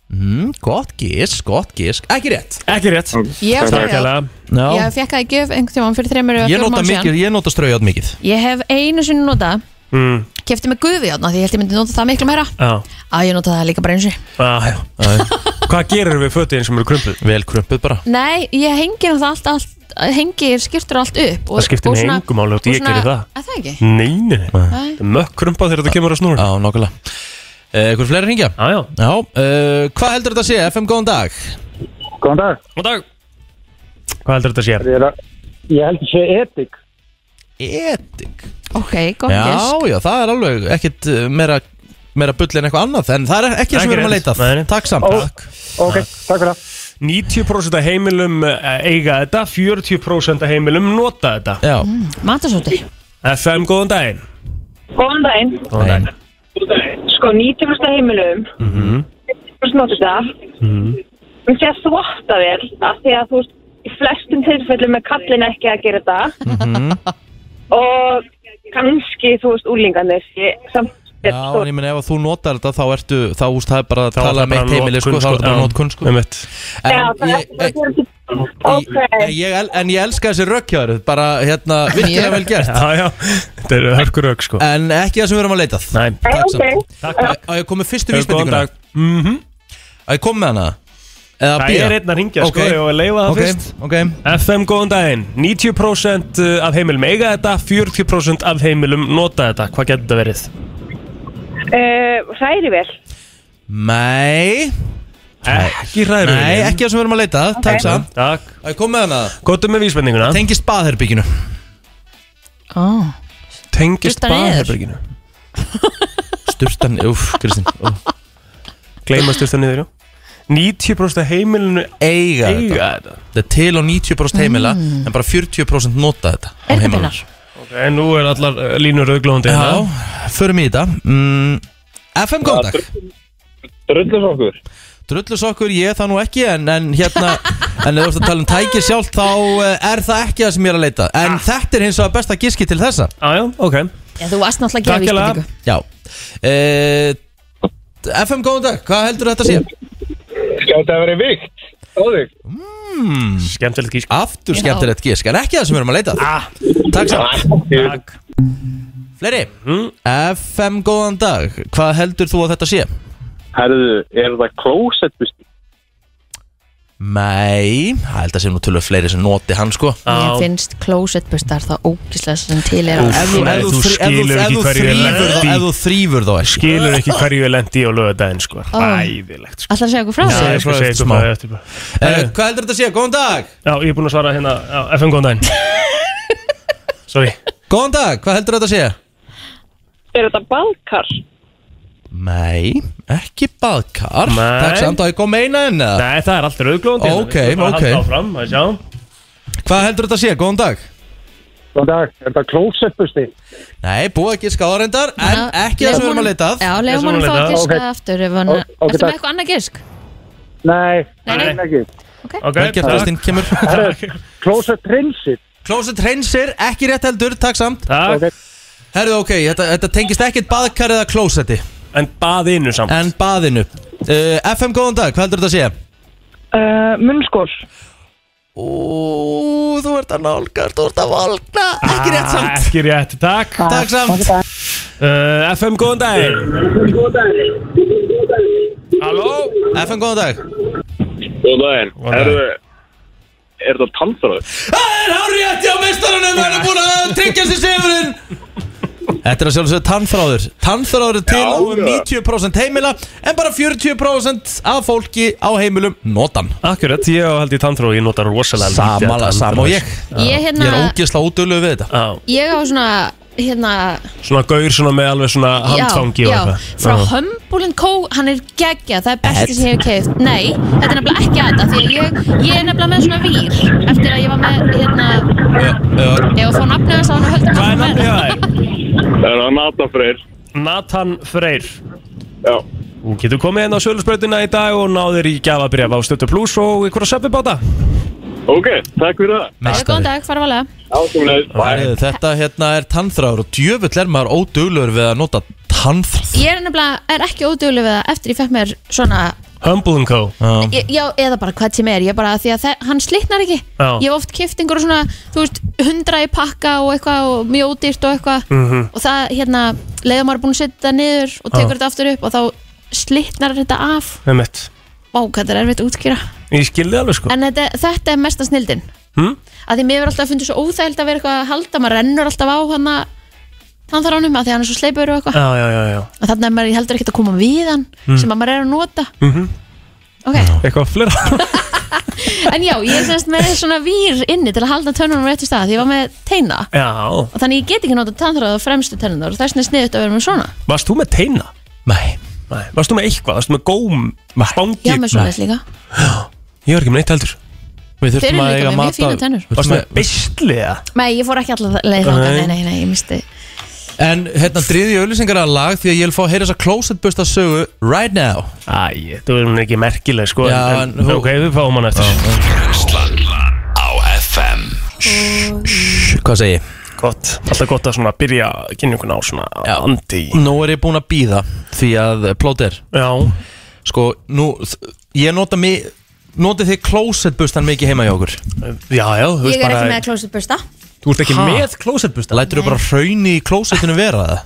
A: Mm, gott gísk, gott gísk Ekki rétt
C: Ekki rétt
B: Ég hef straujáð.
A: Já.
B: Ég fekk það í gjöf einhvern tíma fyrir þreymur
A: Ég nota mikið, ég nota straujátt mikið
B: Ég hef einu sinni nota
A: mm.
B: Kefti með gufi átna því ég held ég myndi nota það miklu meira
C: Já
B: Á ég nota það líka bara einu sinni
C: Já, já Hvað gerir við fötin sem eru krumpuð?
A: Vel krumpuð bara
B: Nei, ég hengi það allt, allt Hengi skiptur allt upp
C: Það skiptir mig engu máli þótt ég gerir það.
B: Er það ekki?
C: Nei, nei, nei. Það er mökk krumpað þegar þetta kemur að snúra
A: Já, nokkulega Ekkur fleiri hringja?
C: Já, já
A: Já, uh, hvað heldur þetta að sé? FM, góðan dag
C: Góðan dag Góðan dag Hvað heldur þetta að
L: sé? Ég held að sé etik
A: Etik?
B: Ok, gott
A: Já,
B: gísk
A: já, það er alveg ekkit uh, meira, meira bull en eitthvað annað En það er ekki það sem við erum að leita að. Takk samt
C: Ok, takk fyrir það 90% af heimilum eh, eiga þetta 40% af heimilum nota þetta
A: Já
B: Matasóti
C: FM, góðan daginn
G: Góðan daginn.
C: Góðan daginn
G: Sko, 90% heimilum,
C: Mhm.
G: 90% notur það.
C: Mhm.
G: Mér sé að þvotta vel, af því að þú veist, í flestum tilfellum er kallin ekki að gera þetta.
A: Mhm.
G: Og kannski, þú veist, úlingarnir, ég samt...
A: Já, en ég meni ef að þú notar þetta þá ertu, þá úst það er bara að
C: er
A: tala
C: það
A: um eitt
C: bara
A: heimili sko,
C: notkun,
A: þá er
C: sko,
A: þetta bara
C: já,
A: nótkunn sko
C: einmitt.
G: Já,
A: En
G: það
A: ég,
G: er ekki... Ok.
A: en ég, el- en ég elska þessi rökkjáður, bara hérna, virkilega vel gert
C: Já, já, þetta eru hörkur rök sko
A: En ekki það sem við erum að leita að.
C: Nei,
A: takk samt
G: Ok.
A: Takk, takk Á ég komið fyrstu
C: Hefur góðan dag.
A: vísbendinguna
C: Mhm.
A: Á ég komið með hana Eða
C: Það
A: bíða?
C: er einn að ringja
A: Ok.
C: sko og leifa það
A: Ok,
C: fyrst
A: Ok
C: FM, góðan daginn 90% af heimilum eiga þetta 40% af heimilum nota þetta Hvað getur þetta verið?
G: Uh, hræri vel.
A: Nei
C: Ekki hræður
A: Nei, ekki það sem við erum að leita að, Takk samt
C: Takk
A: Á ég komið með hana
C: Góttum með vísbendinguna
A: Tengist baðherbygginu
B: oh.
C: Tengist
A: Sturta niður.
C: baðherberginu
A: Sturtan, uff, Kristín úff.
C: Gleima styrsta niður, já 90% af heimilinu
A: Eiga,
C: eiga
A: þetta Þetta er til á 90% heimila En bara 40% nota þetta
B: Mm. Er
A: á
B: þetta
A: heimilum.
B: pinnar?
C: Ok, En nú er allar eh, línur auglóðandi
A: Já, förum í þetta mm, FM, góðan dag
L: Drullusokkur
A: Drullusokkur, ég það nú ekki En, en hérna, en ef þú ert að tala um tæki sjálf Þá eh, er það ekki það sem ég er að leita að. En þetta er hins vegar besta giski til þessa
C: Ah. Já, já, ok
B: Já, þú varst náttúrulega að gera vísbendingu
A: Já uh, FM, góðan dag, hvað heldur þetta að sé?
L: Skjátt að vera vikt Óðvík
A: Mm.
C: Skemmtilegt gísk Ah.
A: Aftur skemmtilegt gísk, en ekki það sem við erum að leita að. Takk samt
C: Takk Hmm?
A: Fleiri FM, góðan dag, hvað heldur þú að þetta sé?
M: Herðu, er það klósett busti?
A: Nei, það held að sé nú tölvöf fleiri sem noti hann sko
B: Mér finnst closetbustar það ógíslega sem til er
A: Úff, Ef þú- ef þú-
C: Þú
A: Ef þú-
C: skilur
A: ef
C: ekki
A: þú
C: hverju ég
A: þrífur
C: lendi
A: þá- ef þú þrýfur þá ekki
C: Skilur ekki hverju ég lendi á lögadaginn sko Æðilegt
B: Ætlar að segja okkur frá
C: Já,
B: því?
C: ég skal segja ykkur
A: smá.
C: frá því eftir bara.
A: Eh, Hvað heldur þetta að sé? Góðan dag
C: Já, ég er búinn að svara hérna á FM góðan daginn Sorry
A: Góðan dag, hvað heldur þetta að sé?
G: Er þetta balkar?
A: Nei, ekki baðkar
C: Nei.
A: Takk samt að ég kom meina henni
C: Nei, það er alltaf auðglóðandi
A: Ok, ok.
C: Það er áfram, að sjá
A: Hvað heldur þetta að sé? Góðan dag
L: Góðan dag, er þetta klósettbusti?
A: Nei, búið ekki skáðarendar En ekki það sem við erum að leita að
B: Já, lefum hann að fá að gíska aftur ef hann-
A: Ó- ok,
B: Ertu með
A: takk.
B: eitthvað annað gísk?
L: Nei,
B: Nei, nei.
L: ekki
C: Ok,
A: Vel gert, Kristinn, kemur
L: Klósett prinsip
A: Closet Reynsir, ekki rétt heldur, takk samt
C: Takk
A: Herðu, ok, þetta, þetta tengist ekkit baðkar eða closeti
C: En baðinu samt
A: En baðinu uh, FM, góðan dag, hvað heldur þetta að sé?
G: Uh, Munnskóls.
A: Ú, þú ert að nálgast, þú ert að valgna Ekki rétt
C: Ah,
A: samt
C: Ekki rétt, takk
A: Takk samt
C: uh, FM góðan daginn Halló
A: FM, góðan dag
M: Góðan daginn, herðu, er það tannþráður?
A: Það er hár rétt hjá meistarunum Hann er búin að tryggja sér sigurinn Þetta er að sjálfsögðu tannþráður Tannþráður er til á um 90% heimila En bara 40% af fólki á heimilum notan
C: Akkurat, ég á held í tannþró Ég notar rosalega
A: Samala,
C: tannþró.
A: sama og ég
B: Ég
A: Ég er
B: hérna,
A: ógeðslega útölu við þetta
C: Já,
B: ég á svona hérna
C: Svona gaur svona með alveg svona handfangi
B: já,
C: og
B: já,
C: eitthvað.
B: frá
C: Já.
B: Humble Co, hann er geggja, það er
C: Ed.
B: besti sem ég hef keift Nei, þetta er nefnilega ekki þetta Því að ég, ég er nefnilega með svona vír Eftir að ég var með, hérna Ég var að fá nafnið þess að hann höldi Hvað er nafnið
C: það? Það er Nathan Freyr Nathan Freyr Já Þú getur komið hérna á Sölusbrautina í dag og náðir í gjafabref á Stöttu Plus og ykkur að seppi báta
M: Ok, takk fyrir það
B: Góðan dag, fara valega
A: Herðu, Þetta hérna er tannþráður og djöfull er maður óduglur við að nota tannþráður
B: Ég er nefnilega, er ekki óduglega við það Eftir ég fekk mér svona
C: Humble Co
B: Ég- Já, eða bara hvað sem er, ég bara því að það, hann slitnar ekki
C: Já.
B: Ég hef oft kift einhverju svona, þú veist, hundra í pakka og eitthvað og mjög ódýrt og eitthvað
C: Mhm.
B: Og það, hérna, leiða maður er búin að setja það niður og tekur
C: Já.
B: þetta aftur upp og þá slitnar þetta af
C: Með mitt
B: Vá, hvað þetta er erfitt að útskýra
C: Ég skildi alveg sko
B: En þetta, þetta er mesta snildin
C: hm?
B: að því mér verður alltaf fundið svo óþægild að vera eitthvað að halda maður rennur alltaf á hann hann þar ánum að því hann er svo sleipur og eitthvað
C: Já, já, já, já
B: og þannig að maður heldur ekkert að koma við hann
C: Mm.
B: sem að maður er að nota
C: mm
A: Mhm.
C: -hmm.
B: Ok.
C: Eitthvað flera
B: en já, ég er semst með svona vír inni til að halda tönnunum rétt í stað því ég var með teina
C: Já
B: og þannig ég get ekki nota tannþráð á fremstu tönnunar og þess vegna er sniðut að vera með svona
C: Varst þú með teina? Nei Nei Varst þú með eitthvað? Varst þú með góm? Nei Spangi?
B: já, með svona þess líka
C: Ég var ekki með neitt heldur Við
B: Þeir eru líka með mjög fínar tennur.
C: Varst með beisli eða?
B: nei, ég fór ekki alltaf leið þangað
A: Nei.
B: nei, nei, nei, ég misti
A: En hérna driði ég auðlýsingar að lag því að ég vil fá að heyra þessa closetbusta sögu right now
C: Æ, þú erum ekki merkileg sko
A: Já,
C: en,
A: en
C: en,
A: þú-
C: Ok, við fáum hann eftir
E: Brennslan á FM
A: Hvað segi ég?
C: Gott, alltaf gott að svona byrja kynninguna á svona andi í.
A: Nú er ég búinn að býða því að plót er
C: Já
A: Sko, nú, þ- ég nota mig Notið þið closetbustan mikið heima hjá okkur?
C: Já, já, þú
B: ég er ekki með closet bursta
A: Þú ert
C: ekki með klósettbusta?
A: Lætur þú bara hrauni í klósettinu vera það?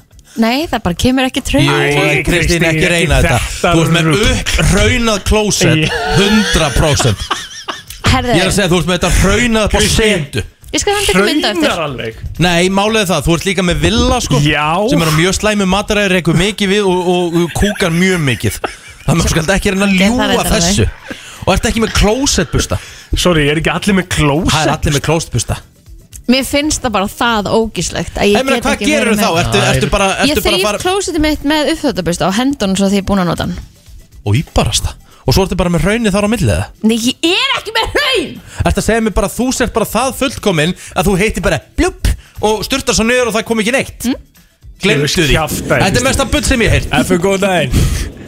B: nei, það bara kemur ekki trönd
A: Jú, Kristín, ekki reyna
C: ekki
A: þetta
C: þetta
A: Þú ert með
C: rugl.
A: upp hraunað klósett 100% Ég er að segja, þú ert með þetta hraunað upp á setu
B: ég skal hann tekja mynda eftir
C: alveg
A: Nei, málið er það, þú ert líka með villa sko
C: Já
A: Sem er á mjög slæmi mataræður, reykur mikið við og, og, og kúkar mjög mikið Þannig að þú skal ekki reyna að
B: það
A: ljúga
B: reyndar
A: þessu Og ert ekki með klósettbusta
C: Sorry, er ekki allir með klósett?
A: Það er allir með klósettbusta
B: Mér finnst það bara það ógíslegt að
A: Ég
B: ég
A: meina,
B: get
A: hvað
B: ekki
A: gerirðu
B: verið með
A: þá? Ertu-
B: Æ.
A: ertu bara- ertu
B: Ég
A: bara að
B: þrýf
A: fara-
B: klósitið mitt með uppþjóttabust á hendunum svo því ég er búin að nota hann
A: Og ég barasta Og svo ertu bara með hraunið þar á millið það
B: Nei, ég er ekki með hraun
A: Ertu að segja mér bara að þú sért bara það fullkomin Að þú heitir bara bljup Og sturtar svo niður og það kom ekki neitt mm? Glemstu því
C: Kjaftaði,
A: Þetta er
C: Kristín.
A: mesta bull sem ég heirt
C: Ef við góða einn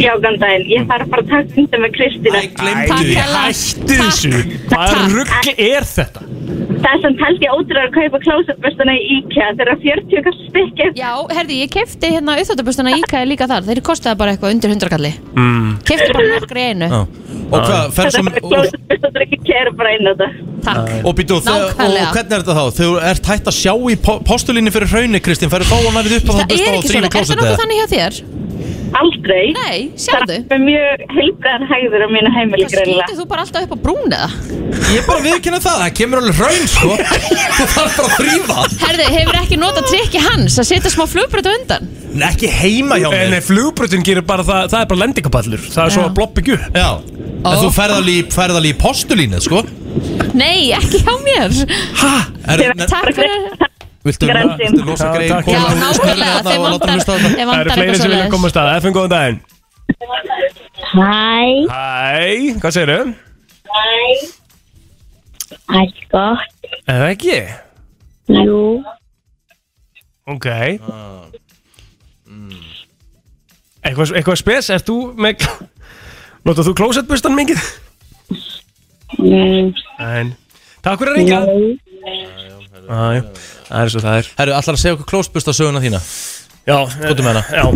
G: Já, góðan daginn, ég þarf bara að taka undir með Kristina Æ,
C: Æ, hættu þessu Hvað
G: Takk.
C: rugg er þetta?
G: Það sem taldi ótrúlega að kaupa klósetbustana í IKEA þegar 40 kall stykkið
B: Já, herði, ég kefti hérna uppþjóttabustuna í IKEA líka þar Þeir kostaði bara eitthvað undir hundrakalli
C: Mm.
B: Kefti bara nokkri í einu
A: Og hvað, ferð svo
G: Þetta er klósetbustana ekki kæra bara inn á það
B: Takk
A: Og, býtu, þe- og
B: Nákvæmlega.
A: hvernig er þetta þá? Þú ert hægt að sjá í po- postulínu fyrir hraunni, Kristín Færðu þá að nærið upp að
B: Það
A: það busta
B: er
A: og
B: ekki
A: þrýfi
B: svona, er það
A: klósett
B: nokkuð þannig hjá þér?
G: Aldrei
B: Nei, sjáðu
G: Það er mjög heilbræðan hægður á mínu heimili greinlega
B: Skýtið þú bara alltaf upp á brún eða?
A: Ég bara viðkynna það, það kemur alveg hraun sko Þú þarf bara að þrýfa
B: Herði, hefur ekki notað trikki hans að setja smá flugbrötu undan?
A: En ekki heima hjá mér
C: Eh, Nei, flugbrutin gerir bara það, það er bara lendingapallur Það er svo
B: Já.
C: að bloppa ekki upp
A: Já, en þú ferð alveg í- ferð alveg í postulínu sko
B: Nei, ekki hjá mér
A: Er-
B: Hæ? Takk fyrir
A: Viltu
B: Grensin.
A: viltu losa greið
C: takk. Já,
B: nákvæmlega, þeim vantar- þeim
C: Það
B: vantar
C: eru fleiri
B: eitthvað
C: sem vilja
B: svoleiðis.
C: koma að staða Ef við góða einn
K: Hæ,
C: Hæ, hvað segirðu?
K: allt gott,
C: Er það ekki?
K: jú,
C: Ok Eitthvað, eitthvað spes, ert þú með Notar þú klósettbustan mingið?
K: mm,
C: Nein Takk fyrir að ringa
K: nei,
C: Æ, Það er svo það er
A: Herru, allar að segja okkur klósbusta söguna þína
C: Já
A: Skotum með hana
C: Já,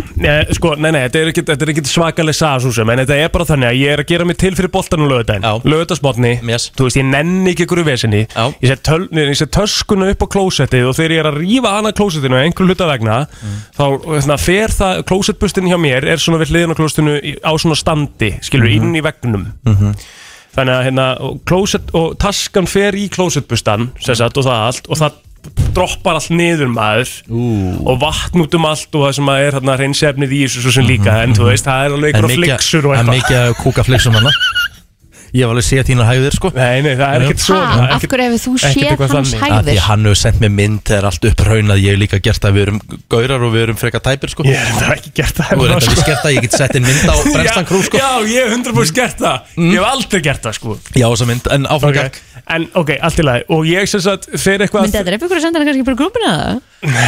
C: eh, sko, nei, nei, þetta er ekkit, þetta er ekkit svakalega sasúsum En þetta er bara þannig að ég er að gera mig til fyrir boltanum lögudaginn Lögudagsmotni yes. Þú veist, ég nenni ekki ykkur vesinni Já. Ég set, töl, nei, ég set töskuna upp á klósettið Og þegar ég er að rífa hana af klósettinu Einhver hluta vegna Þá þannig, fer það, klósettbustin hjá mér Er svona við hliðin á klósettinu í- á svona standi Skilur, inn í veggnum Þannig að hérna, og klósett og taskan fer í klósettbustan sem sagt, og það allt og það droppar allt niður maður Ú. og vatn út um allt og það sem að er hérna hreinsefnið í þessu svo sem líka en þú veist, það er alveg
A: Mhm. En
C: einhverja
A: mikið-
C: fliksur og
A: en
C: eitthvað
A: mikið að kúka fliksum hana Ég hef alveg séð þínar hæðir sko
C: Nei, nei, það er ekkert
B: svona, Ha, það er af ekkert- hverju hefur þú ekkert séð eitthvað hans þannig. hæðir?
A: Af Því að hann hefur sendt mér mynd þegar allt upphraunar Ég hef líka gert það, við erum gaurar og við erum freka tæpir sko
C: Ég hef ekki gert það sko.
A: Þú er þetta við skert það, ég get sett inn mynd á Brenstan Krú sko Mm.
C: Já, já, ég hef 100% gert það Ég hef aldrei gert það sko
A: Já, þessa mynd, en áfram
C: okay. En ok, allt í lagi Og ég sem sagt fer eitthvað
B: Myndi þetta reypa ykkur að senda hann kannski bara í grúpuna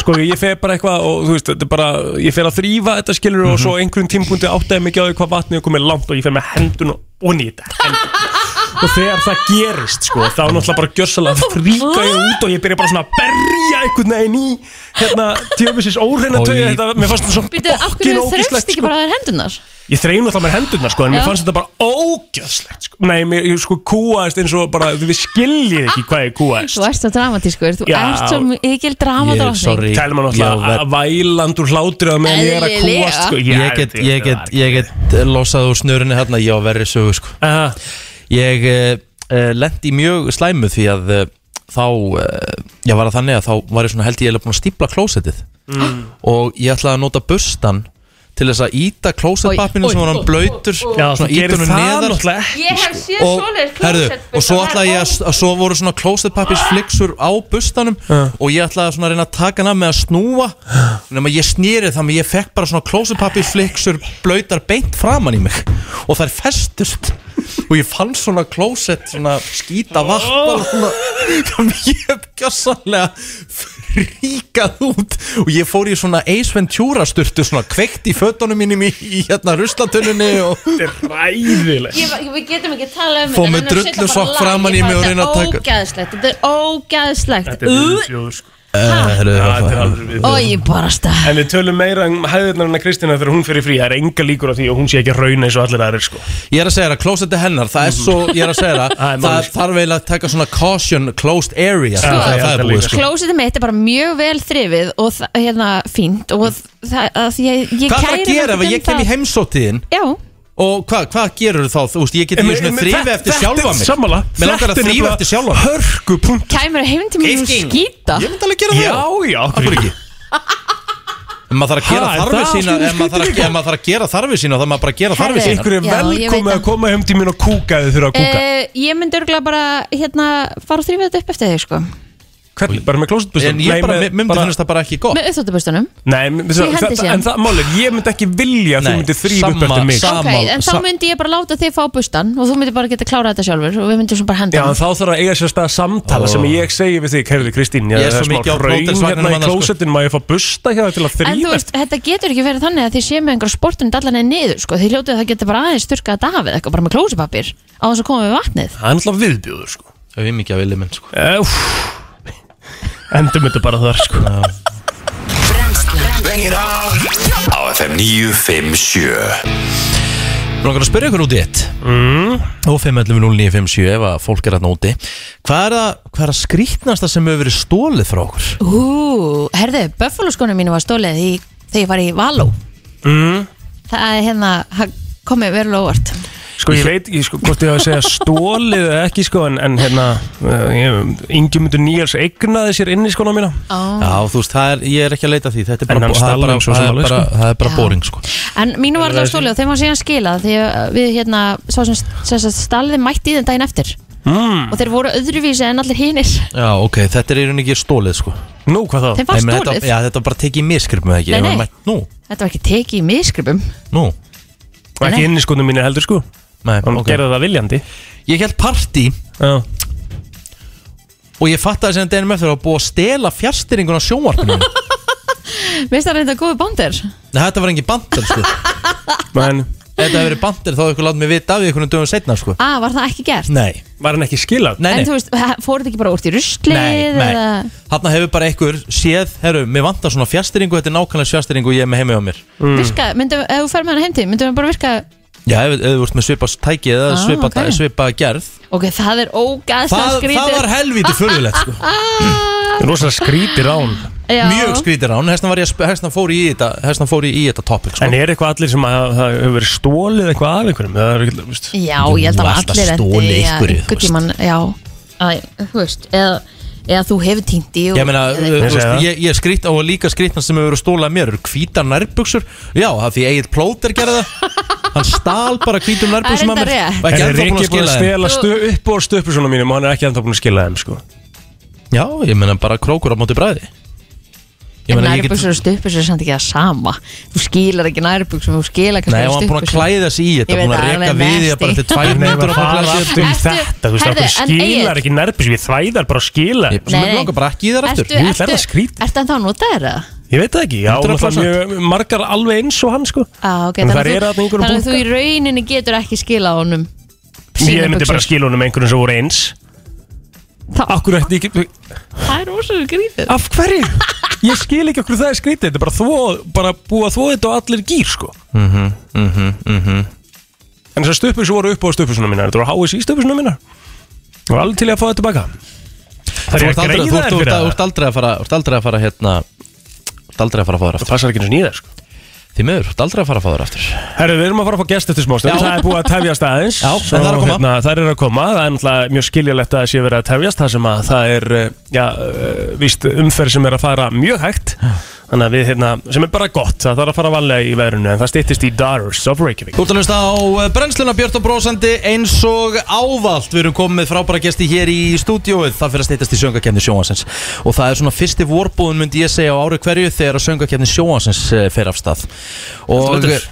C: sko, ég fer bara eitthvað og þú veist, þetta er bara ég fer að þrýfa þetta skilur og svo á einhverjum tímpunkti áttaði mig ekki á því hvað vatnið er komið langt og ég fer með hendun og onni í þetta en, og þegar það gerist sko, þá náttúrulega bara gjörsalega fríka ég út og ég byrja bara svona að berja einhvern veginn í hérna tjöfisins óreina
A: Oj.
C: tögi þetta, mér fannst þetta svo
B: Býtu, af
C: fokkin
B: hverju þrefst
C: ógeðslegt,
A: sko.
B: ekki bara á þær hendunar?
C: Ég þreif náttúrulega með hendurna sko En mér
B: Já.
C: fannst þetta bara ógjöðslegt sko. Nei, mér, ég sko kúaðist eins og bara Við skiljið ekki hvað ég kúaðist
B: Þú ert svo dramatískur, þú
C: Já.
B: ert svo mikil dramadrottning
C: Tælum hann
A: Já,
C: náttúrulega að væland úr hlátri að meðan ég er að
B: Eðlilega.
C: kúast sko.
A: Ég get, ég get, ég get losað úr snörinni hérna Já, verri sögu sko
C: Aha.
A: Ég uh, lendi í mjög slæmu því að uh, þá uh, ég var að þannig að þá var ég svona held ég eiginlega búinn að stípla klósettið
C: Mm.
A: og ég ætlaði að nota bustan til þess að íta klósettpappinu
C: Oj,
A: sem var
C: oj,
A: hann
C: oj.
A: blöytur
C: Já, þú gerir
A: honum
C: það náttúrulega ekki,
B: Ég hef séð
A: Sko. og,
B: svoleiðis
A: herðu,
B: klósettbusta,
A: og svo
B: það er
A: ætlaði ég að, að svo voru svona klósettpappis fliksur á bustanum og ég ætlaði svona að reyna að taka hana með að snúa nema ég snýri þannig að ég fekk bara svona klósettpappis fliksur blöytar beint framan í mig og þær festust og ég fann svona klósett svona skýta vatn svona, ég hef gjössanlega fríkað út og ég fór í svona Ace Ventura styrtu svona kveikt í fötunum mínum í, í hérna ruslatunni og
C: Ræðilegt
B: Ég, ég- við getum ekki að tala um
A: Fór
B: þetta, en
A: með
B: að setja
A: drullusokk
B: bara lag,
A: framan í
B: ég
A: mig og
B: bara,
A: reyna að
B: þetta er
A: taka-
B: Ógæðslegt, þetta er ógæðslegt
C: Þetta er viðbjóður sko.
A: Eh,
B: Ó, Uh. ég bara stað
C: En við tölum meira um hæðirnar hennar Kristina þegar hún fyrir frí Það er enga líkur á því og hún sé ekki að rauna eins og allir aðrir sko. Mhm.
A: Ég er að segja það, klósetti hennar, það er svo, ég er að segja það,
C: Það er málið,
A: það
C: sko.
A: þarf eiginlega að taka svona caution closed area, sko,
C: Já,
A: þegar
C: já,
A: það
C: það
A: er búið,
C: líka.
A: sko.
B: Klósitið mitt er bara mjög vel þrifið og það- hérna fínt og það, að því að ég
A: Hvað það
B: kæri mig
A: gera ef
B: ekkert um
A: ég kem í
B: það.
A: heimsóttiðin
B: Já,
A: og hvað, hvað gerur þá, þú veist, ég get
C: En-
A: mjög svona
C: en-
A: þrýfi
C: þetta-
A: eftir
C: þetta
A: sjálfa
C: er
A: mig.
C: sammála.
A: Mér langar
C: Þetta
A: að
C: er
A: þrýfi
C: nefnilega
A: eftir sjálfa mig.
C: Hörgu punkt
B: kæmur heim til mér og
A: Gifting.
B: skýta
A: Ég myndi alveg gera það.
C: Já, já, af
A: Akkur ekki. En maður þarf að gera
C: Ha, er
A: þarfið
C: það
A: sína,
C: allt í
A: ef maður þarf að- ef maður þarf að gera þarfið sína, þá þarf maður bara að gera þarfið
B: Herðu,
A: sína.
C: Ykkur er
B: Já, ég veit
C: velkomið
B: það.
C: að koma heim til mín og kúka ef þið þurfa að kúka
B: Uh, ég myndi örgulega bara hérna, fara og þrýfa þetta upp eftir þig sko.
C: Hvernig? Bara með klósetbustum?
A: En ég bara, mér myndi finnst það bara ekki gott.
B: með uppþóttabustunum
C: Nei, mér
B: Ég
C: finnst það-
B: hendi
C: þetta-
B: síðan.
C: en það máli, ég myndi ekki vilja að þú
A: Nei,
C: myndi þrýfa upp
A: sama-
C: eftir mig
A: sama-
B: Ok,
A: Amal-
B: en þá
A: sa-
B: myndi ég bara láta þig fá bustan og þú myndi bara geta klárað þetta sjálfur og við myndum svo bara henda
C: Já, en þá þarf að eiga sér stað samtala
A: Ó.
C: sem ég segi við þig, heyrðu Kristín,
A: Ég er
C: það
A: svo mikið
C: raun
A: á próteinsvagninu
C: hérna í
A: manna, sko.
C: klósettinu, má ég fá busta hérna til að
B: En þú
C: þrýfa
B: veist, þetta getur ekki verið þannig að þið séu með einhverja sportun dallan eða niður, sko, þið hljótið að það getur bara aðeins styrkað þetta af eða eitthvað bara með klósipapir á þess að koma með vatnið.
C: Það er náttúrulega viðbjóður, sko Eh,
A: Það er mikið að vilja minn, sko.
C: Úff. Endum þetta bara þar, sko
E: Á FM 957
A: Mér langar að spyrja ykkur út í ett mm. og 511957 ef að fólk er að nóti hvað er að, hvað er að skrýtnasta sem hefur verið stólið frá okkur?
B: Ú, herðu, buffaloskónum mínu var stólið í, þegar ég var í Való.
C: mm.
B: Það er hérna, það komið verulega óvart.
C: Sko, ég veit ekki, sko, hvort ég hafa að segja stólið eða ekki, sko, en, en hérna Ingjumutur Níels eignaði sér inn í skona mína
B: Oh.
A: Já, þú veist, það er, ég er ekki að leita að því þetta er
C: En
A: bara,
C: hann
A: það er
C: stal
A: bara,
C: þeim svo
A: það
C: sem
A: er
C: alveg,
A: bara,
C: sko.
A: það er bara
B: Já.
A: boring sko.
B: En mínu var
C: Það
B: alveg
C: er-
B: stólið og þeim var síðan skilað því að við hérna, svo sem, sem, sem staliði mætti í þeim daginn eftir
C: mm.
B: og þeir voru öðruvísi en allir hinnir.
A: Já, ok, þetta er í rauninni ekki stólið sko.
C: Nú, hvað þá?
B: Þeim var
A: Nei, menn, þetta,
B: stólið.
A: já, þetta var bara tekið í miskripum eða ekki
B: Nei,
A: Ef maður
B: nei.
A: mætt- Nú,
B: Þetta var ekki tekið í miðskripum.
A: nú,
C: Ekki inn í skona mínu heldur, sko
A: nei,
C: Hann
A: ok
C: gerði það viljandi
A: Ég held partí
C: Já
A: og ég fattaði sem deginum eftir að búa að stela fjastýringuna sjónvarpinu mínu.
B: Veist það reynda góði bándir?
A: Nei, þetta var engin bandar sko.
C: Men,
A: Þetta hefur verið bandar þá hefur ykkur látið mig vita af því einhvern dögum setna sko.
B: Ah, var það ekki gert?
A: Nei,
C: var hann ekki skilað?
A: nei, nei
B: En þú veist, fóruð ekki bara úr í ruslið
A: Nei, nei.
B: eða...
A: Þarna hefur bara einhver séð, herru, mér vantar svona fjastýringu, þetta er nákvæmlega fjastýringu ég er með heima hjá mér.
C: Mm.
B: virka,
A: Mm.
B: myndum, ef þú fer með hana heimti myndum við bara virka,
A: Já, ef ef þú ert með svipa tæki eða
B: Ah,
A: svipa,
B: ok.
A: svipa gerð.
B: ok, það er ógæðslega
A: Það,
B: skrítið
A: það var helvítið fyrirlegt, sko.
C: Rósa skrítir á hann
B: Já.
A: Mjög skrítið rán, hérna var ég að sp- hérna fór ég í þetta, hérna fór ég í þetta topic, sko.
C: En er eitthvað allir sem að það hefur verið stólið eitthvað af einhverjum? Það er ekki, þú veist
B: já, ég held að
A: Alltaf
B: allir
A: stolið ykkur, þú
B: einhvern
A: veist.
B: tímann já, að, þú veist eða, eða þú hefur týndi
A: Ég meina,
B: eða,
A: þú
C: Ég segi
A: veist,
C: það.
A: ég, ég skrýt á líka skrýtna sem hefur verið stólað mér, eru hvítar nærbuksur, já, það því eigið plóter gerði það, Hann stál bara hvítum nærbúsum
B: Það er enda rétt.
A: Og ekki ennþá búin að
C: búin að
A: skila þeim
C: stela stu, upp og stöpu svona mínum og hann er ekki ennþá búin að skila þeim sko.
A: Já, ég menna bara krókur á móti bræði Ég
B: En
A: meina, ég get-
B: nærbuxur og stuðbuxur er samt ekki það sama Þú skilar ekki nærbuxum, þú skilar kannski
A: Nei, og hann búin að
B: stuttbuxum.
A: klæða sig í þetta
B: Ég veit
A: Búin að
B: það,
A: reka
B: alveg
A: við í það bara
B: nasty.
A: til tvær
C: Nei,
A: mínútur
C: maður
A: og bara
C: fara
A: klæða sig
C: aftur í
B: Ertu-
C: þetta Þú veist,
B: Herðu,
C: okkur
B: en
C: skilar
B: Egill-
C: ekki nærbjörn Við þvæðar bara að skila
A: Ég- sem Nei. mig langar bara ekki í þær aftur.
B: Ertu,
A: Jú,
B: ertu,
A: það er það
B: ertu,
A: skrítið.
B: ertu ennþá að nota þér það?
C: Ég veit það ekki, já,
A: 100%.
C: náttúrulega mjög- margar alveg eins og hann sko
B: Ah, okay,
C: En
B: þannig
C: þær
B: að
C: eru þarna í
B: þú-
C: einhverjum
B: þannig að þú í rauninni getur ekki skila honum
C: Ég
B: sínum
C: myndi bara skila honum einhverjum sem voru eins Akkur ætti ekki
B: Það er ósöðu grítið
C: Af hverju? Ég skil ekki okkur það er skrítið Þetta er bara, þvó, bara búið að þvó þetta á allir gýr sko
A: Mhm, mhm, mhm
C: En þessar stöpus voru upp á stöpusuna mína Þetta voru HSI stöpusuna mína Og alveg til ég að fá þetta baka Það
A: Þú
C: er
A: ert
C: að
A: aldrei-
C: greiða
A: þú ert-
C: þær fyrir
A: þú ert- þú
C: það
A: ert aldrei að fara Þú ert aldrei að fara hérna Þú ert aldrei að fara að fá þér aftur
C: Það passar ekki eins og nýðar sko
A: Því miður, þú ert aldrei að fara að fá þér aftur
C: Herru, við erum að fara að fá gest eftir smástund,
A: Já.
C: það er búið að tefjast aðeins
A: Já, en
C: Svo,
A: það er að koma.
C: Hérna, það er að koma, það er náttúrulega mjög skiljalegt að það sé verið að tefjast Það sem að það er, eh, já, eh, víst umferð sem er að fara mjög hægt Þannig að við, hérna, sem er bara gott, það þarf að fara valega í verðinu En það styttist í Darus of Reykjavík
A: Þú ert að hlusta á eh, brennsluna Björn og Brósandi eins og ávallt Við erum komið með frábæra gesti hér í stúdióið Það fyrir að steytast í söngakefni sjóhansins Og það er svona fyrsti vorbúðun myndi ég segja á ári hverju Þegar að söngakefni sjóhansins fer af stað Og
C: Heldur betur.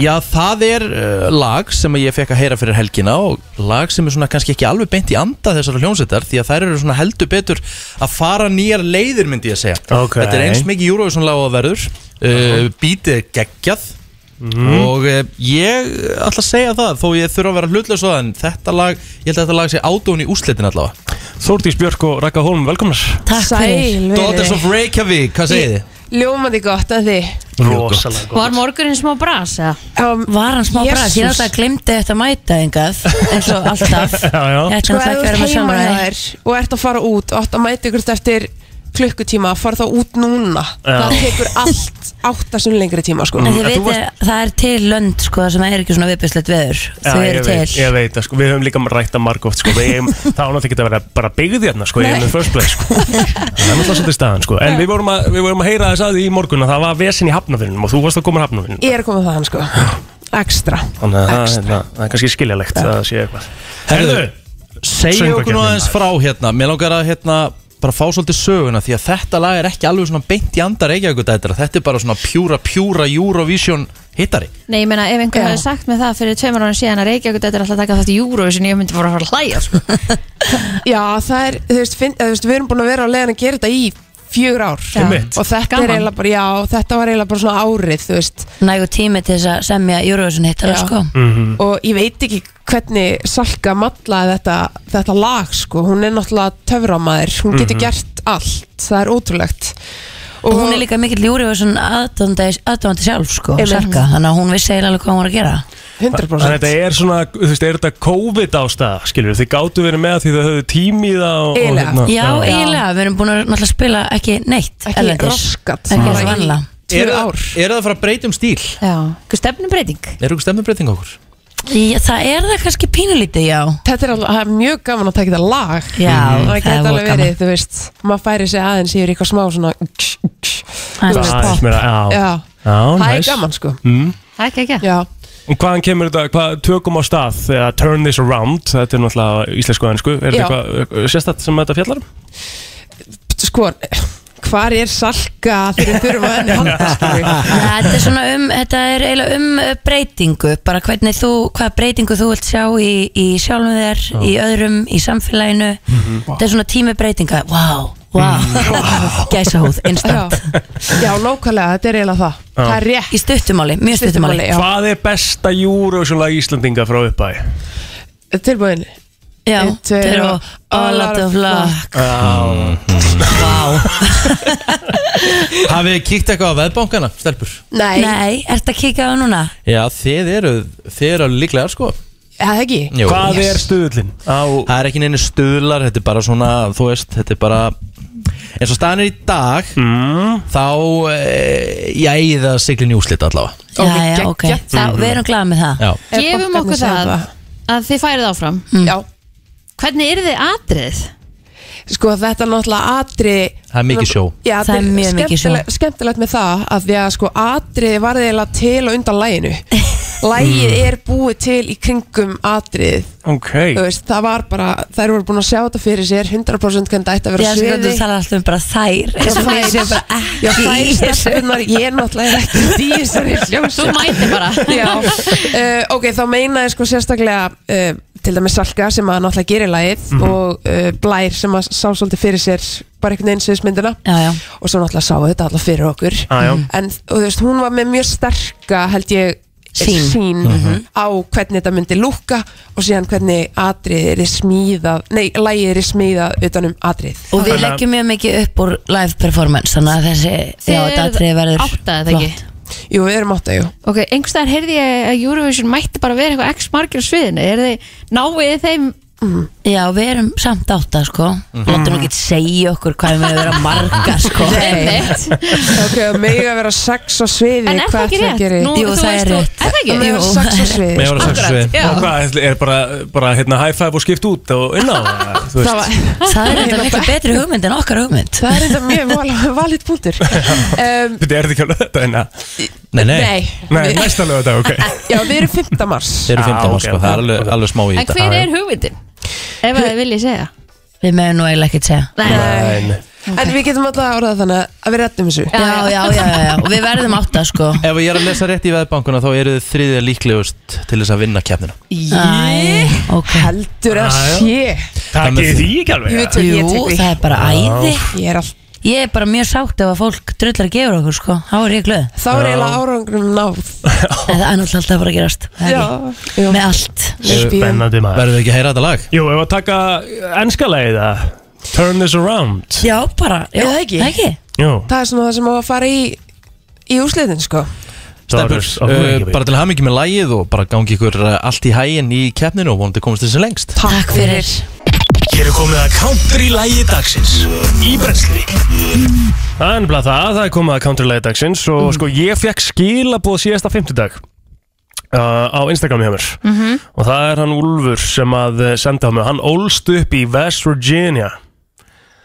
A: já, það er uh, lag sem ég fekk að heyra fyrir helgina Og lag sem er svona kannski ekki alveg beint í anda þessara hljónsettar Því að þær eru svona heldur betur að fara nýjar leiðir myndi ég segja
C: Ok.
A: Þetta er eins mikið Eurovision lag og það verður uh, Bítið er geggjað
C: Mhm.
A: og eh, ég ætla að segja það þó ég þurfa að vera hlutlega svo en þetta lag, ég held að þetta lag sé ádóðun í úrslitin allavega
C: Þórdís Björk og Raka Holm, velkomnar
N: Takk fyrir
A: Daughters of Reykjavík, hvað segið þið?
N: Ljómaði gott að þið
C: Rosalega
B: Var morgunin smá bras? eða?
N: Um,
O: Var hann smá bræð, ég alltaf glemdi þetta mæta engað eins og alltaf
N: Sko
O: Þetta er
N: ef
O: alltaf
N: þú
O: ekki verið
N: ert heima hjá
O: með samræði
N: þér og ert að fara út og átt að mæta ykkur eftir klukkutíma fara þá út núna
O: Já.
N: það tekur allt áttastum lengri tíma
C: Mm.
N: sko.
O: En þið veitir, það er til lönd sko sem er ekki svona viðbjöðslegt veður
C: Já,
O: Þau
C: ég
O: eru
C: veit-
O: til
C: Ég veit, það, sko, við höfum líka rætt að margóft sko. við eigum- Það var náttúrulega ekki að vera bara byggð hérna sko,
O: Nei.
C: Ég er first place sko. Það er náttúrulega svolítið staðan sko. En við vorum, að, við vorum að heyra þess að því í morgun að það var vesen í hafnafinninum og þú varst að koma í hafnafinninum
N: ég er komið þaðan sko. ekstra
C: Þannig að það, það, það er kannski skiljalegt að það sé eitthvað Herðu,
A: Segja okkur nú aðeins frá hérna Mér langar að hérna bara fá svolítið söguna því að þetta lag er ekki alveg svona beint í andar Reykjavík þetta þetta er bara svona pjúra, pjúra Eurovision hittari
B: Nei, ég meina, ef einhver hefði sagt mig það fyrir tveimur ára síðan að Reykjavík þetta er alltaf að taka þetta í Eurovision ég myndi bara að fara að hlæja sko.
N: já það er, þú veist, finn, eða, þú veist við erum búin að vera á leiðin að gera þetta í fjögur ár
O: Já. Einmitt.
N: og þetta
O: Gaman.
N: er eiginlega bara, já, þetta var eiginlega bara svona árið þú veist
O: Nægu tími til þess að semja Eurovision hittara
N: Já.
O: sko
C: Mhm.
N: og ég veit ekki hvernig Salka matlaði þetta, þetta lag sko. hún er náttúrulega töframæður hún getur
O: Mhm.
N: gert allt, það er ótrúlegt
O: Og hún er líka mikill Eurovision aðdóndi sjálf sko,
N: Einmitt.
O: Sarka Þannig að hún vissi eiginlega alveg hvað hún var að gera
N: 100%
C: Þannig að þetta er svona, þú veist, er þetta COVID ástæða, skilur, þið gáttu verið með því þau höfðu tími í það og, hérna- og,
O: Eiginlega. Já, eiginlega, við erum búin að náttúrulega spila ekki neitt
N: Ekki raskat,
O: Ekki
N: bara
O: eins og
N: í-
O: vanlega
A: Er það að fara að breyta um stíl?
B: Já, hvað stefnumbreyting?
A: Er það stefnumbreyting okkur?
O: Í- Það er það kannski pínulítið, já
N: Þetta er, alveg, það er mjög gaman að taka þetta lag
O: Já,
N: Mhm.
O: það
N: það
O: er
N: geta
O: voða
N: alveg
O: gaman.
N: verið, þú veist maður færi sig aðeins yfir eitthvað smá svona
C: Það er aðeins meira, já.
N: Já.
C: Já,
N: Það er
C: nice.
N: gaman, sko.
C: Mm.
B: Það er ekki ekki
N: Já,
C: Og hvaðan kemur þetta, hvað tökum á stað eða turn this around, þetta er náttúrulega íslensku og ennsku, er
N: Já.
C: þetta eitthvað sérstætt sem þetta fjallar um?
N: sko hvar er Salka þegar við þurfum að henni halda skilur við?
O: Þetta er svona um, þetta er eiginlega um eh, breytingu, bara hvernig þú, hvað breytingu þú vilt sjá í, í sjálfum þér, í öðrum, í samfélaginu. Þetta er svona tími breytinga, wow,
F: Mhm.
O: wow, gæsa húð, instant.
N: Já, nákvæmlega, þetta er eiginlega það.
C: Já.
N: Það er rétt.
O: Í stuttumáli, mjög stuttumáli.
C: Hvað er besta Eurovision-lag Íslandinga frá uppæði?
N: Tilbúin.
O: Já,
N: Einn, tveir
O: þeir
N: og-
O: eru all out of luck.
C: Já
A: Hafið þið kíkt eitthvað á veðbankana, stelpur?
N: Nei.
O: Nei, ertu að kíka á núna?
A: Já, þið eru, þið eru líklegar sko
N: Það ekki?
C: Hvað er stuðlinn? Það
A: er ekki neini stuðlar, þetta er bara svona, þú veist, þetta er bara eins og staðan er í dag
C: Mm.
A: þá eh, ég eigi það siglinn í úslit allavega
O: Já, já, ok.
A: geggjað.
C: Mhm.
O: Það, við erum glæðið með það.
A: Já.
B: Gefum
N: bankarnir
B: okkur
N: segja
B: það
N: það?
B: að þið færið áfram
N: Já
B: Hvernig eru þið atrið?
N: Sko þetta er náttúrulega atri
A: Það er mikið sjó.
N: Já,
O: Það er mjög mikið sjó.
N: skemmtilegt- Skemmtilegt með það að því að sko atriði var eiginlega til og undan læginu Lægið
C: Mm.
N: er búið til í kringum atrið
C: Ok
N: veist, Það var bara, þær voru búin að sjá þetta fyrir sér 100% hvernig þetta ætti að vera
O: Já,
N: á
O: sko,
N: sviði
O: þú talar alltaf um bara þær
N: Já,
O: eins og
N: þær.
O: við séum bara ekki
N: Já, þær
O: í þessu.
N: stelpurnar, ég er náttúrulega ekki í þessari hljómsveit.
B: Þú mætir bara.
N: Já, uh, ok, þá meina ég sko sérstaklega uh, til dæmis Salka sem að náttúrulega gerir lagið
O: Mhm.
N: og uh, Blær sem að sá svolítið fyrir sér bara einhvern veginn sviðismyndina já, já. og svo náttúrulega sá þetta allar fyrir okkur
O: Já, já.
N: en og, þú veist, hún var með mjög sterka held ég
O: Sýn. Mhm.
N: á hvernig þetta myndi lúkka og síðan hvernig atrið er smíðað nei, lagið er smíðað um utanum atrið
O: Og við leggjum mjög mikið upp úr live performance Þannig að þessi,
B: Þið
O: já, þetta
B: eruð
O: atriði verður
B: átta, eða ekki?
N: Jú, við erum átta, jú
B: Ok, einhverstaðar heyrði ég að Eurovision mætti bara vera eitthvað x margir á sviðinu Er þið, náið þið þeim
O: Já, við erum samt átta, sko
B: Mhm.
O: mm. Láttum ekki segja okkur hvað við erum að vera marga, sko
N: Ok, og megi að vera sex á sviði
B: En er það
N: hvað
B: ekki
N: ætli að
B: rétt?
N: geri?
B: Nú,
O: Jú, þú það veist er þú- rétt.
B: Er það ekki?
N: Að mega
B: Jú,
N: vera sex á
B: það er
N: sviði
C: Með að vera sex
B: Akkurat,
C: við
B: já.
C: Og hvað, er bara, bara hérna high five og skipt út og inn á það, þú veist
O: Það er þetta miklu betri hugmynd en okkar hugmynd
N: Það er þetta mjög val- valid punktur um,
C: Þetta er þetta ekki að löða þetta hérna
A: Nei, nei.
N: Nei.
C: Nei, næsta löða þetta, ok Ah,
N: Já, við erum 5. mars
A: Þeir eru 15
C: ok,
A: sko, það er alveg, alveg smá í
B: En hver er hugmyndin? Ef að þið viljið segja
O: Við meðum nú eiginlega ekkert segja
A: Nei, nei.
N: En við getum alltaf orðað þannig að við rettum þessu
O: Já, já, já, já, já, og við verðum átta, sko
A: Ef ég er að lesa rétt í veðbankuna þá eru þið þriðja líklegust til þess að vinna keppnina
N: Ég heldur að
A: Já, já.
N: sé
A: Takið þið því ekki
N: Jú, ég tek- ég tek
O: Jú,
N: því.
O: það er bara æði
N: Ég er, all...
O: ég er bara mjög sátt ef að fólk drullar að gefa okkur sko. Þá er ég glöð
N: Þá er eiginlega árangrum náð
O: En það er náttúrulega alltaf að fara að gerast Það er
N: Já,
O: ekki. Með allt
C: Spennandi maður
A: Verðum við ekki að heyra þetta lag?
C: Jú, ef að taka enska lagið það Turn this around
O: Já, bara, já,
N: Eða ekki?
O: það ekki
C: Jú
N: Það er svona það sem á að fara í í úrslitin sko
A: Stelpur,
C: Doris,
A: uh,
C: okkur ekki.
A: bara til að hafa mikið með lagið og bara gangi ykkur uh, allt í hæginn í keppninu og vonandi komast þessi lengst
N: Takk fyrir
C: Hér er komið að country-lægi dagsins Í brensli Það er nefnilega það, það er komið að country-lægi dagsins Og sko, ég fekk skilaboð síðasta fimmtudag uh, Á Instagram hjá mér
P: Mhm.
C: Og það er hann Úlfur sem að eh, sendi á mig Hann ólst upp í West Virginia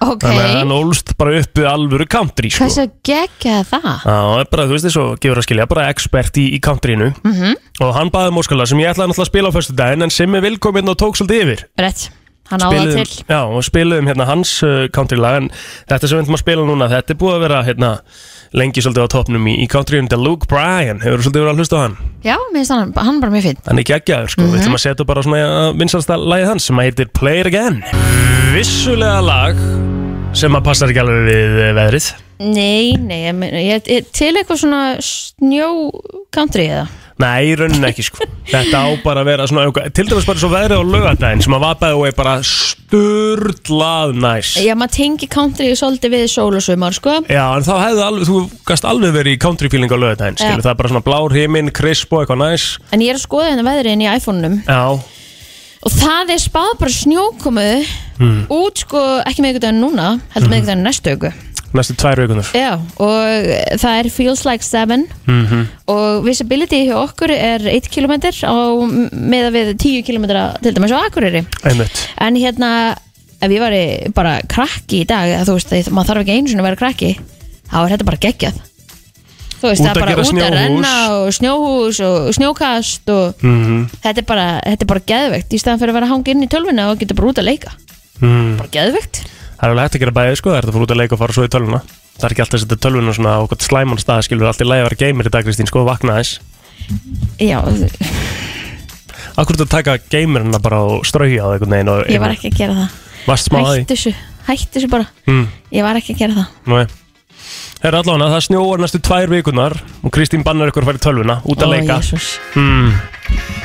B: Ok,
C: Þannig að hann ólst bara upp í alvöru country sko.
B: hversu geggja það?
C: Já, það er bara, þú veist, svo gefur að skilja, bara expert í, í countryinu
B: Mhm.
C: Og hann baði móskala sem ég ætlaði náttúrulega að spila á fyrstu daginn En sem er vilkominn og tók svolítið yfir
B: Rétt, hann á það til
C: Já, og spiluðum hérna hans uh, countrylag En þetta sem við ætlum að spila núna, þetta er búið að vera hérna Lengi svolítið á topnum í, í countryinu Þetta er Luke Bryan, hefur svolítið verið að hlusta á hann
B: Já, mér finnst hann, hann bara mjög finn
C: Hann er geggjaður, sko,
B: Mhm.
C: við ætlum að setja bara svona Vinsalsta lagið hans sem að heitir Play It Again Vissulega lag sem að passar ekki alveg við eh, veðrið
B: Nei, nei, ég, meina, ég, ég, til eitthvað svona snjó country eða
C: Nei, í rauninni ekki sko Þetta á bara að vera svona eitthvað- Til dæmis bara svo veðrið á laugardaginn sem að vapaði og er bara sturlað næs
B: Já, maður tengi country svolítið við sól og sumar, sko
C: Já, en þá hefði alveg, þú gast alveg verið í country feeling á laugardaginn Skilur,
B: Já.
C: það er bara svona blár himinn, krisp og eitthvað næs
B: En ég er að skoða hérna veðriðin í iPhone-num
C: Já,
B: Og það er spáð bara snjókomu
C: Mm.
B: Út, sko, ekki með ykkur núna Heldur með ykkur næstu ykkur
C: næstu tvær vikunar
B: Já, og það er Feels Like Seven
C: mm
B: Mhm.
C: -hmm.
B: og visibility hjá okkur er 1 km á meða við 10 km til dæmis á Akureyri
C: Einmitt
B: en hérna ef ég væri bara krakki í dag eða þú veist, þið- maður þarf ekki einu sinni að vera krakki þá er þetta bara geggjað þú veist,
C: Út
B: það
C: að
B: er bara
C: gera
B: út að
C: snjóhús.
B: renna og snjóhús og snjókast og
C: Mhm.
B: þetta, er bara, þetta er bara geðvegt í staðan fyrir að vera að hanga inn í tölvuna og geta bara út að leika
C: mm.
B: bara geðvegt
C: Það er alveg hægt að gera bæðið sko, það er þetta fór út að leika og fara svo í tölvuna Það er ekki alltaf að setja tölvuna svona á okkur slæman stað Skilur, allt í lagi að vera gamer í dag, Kristín, sko, vakna þess
B: Já,
C: Akkur þetta taka gamerina bara og strauja á það einhvern veginn og-
B: ég var ekki að gera það
C: Varst smá að
B: hættu
C: því
B: þessu, hættu þessu bara
C: mm.
B: ég var ekki að gera það
C: Nei. Það er allavega, það snjóar næstu tvær vikunar og Kristín bannar ykkur að fara í tölvuna, út að
B: Ó,
C: leika
B: Jesús.
C: mm.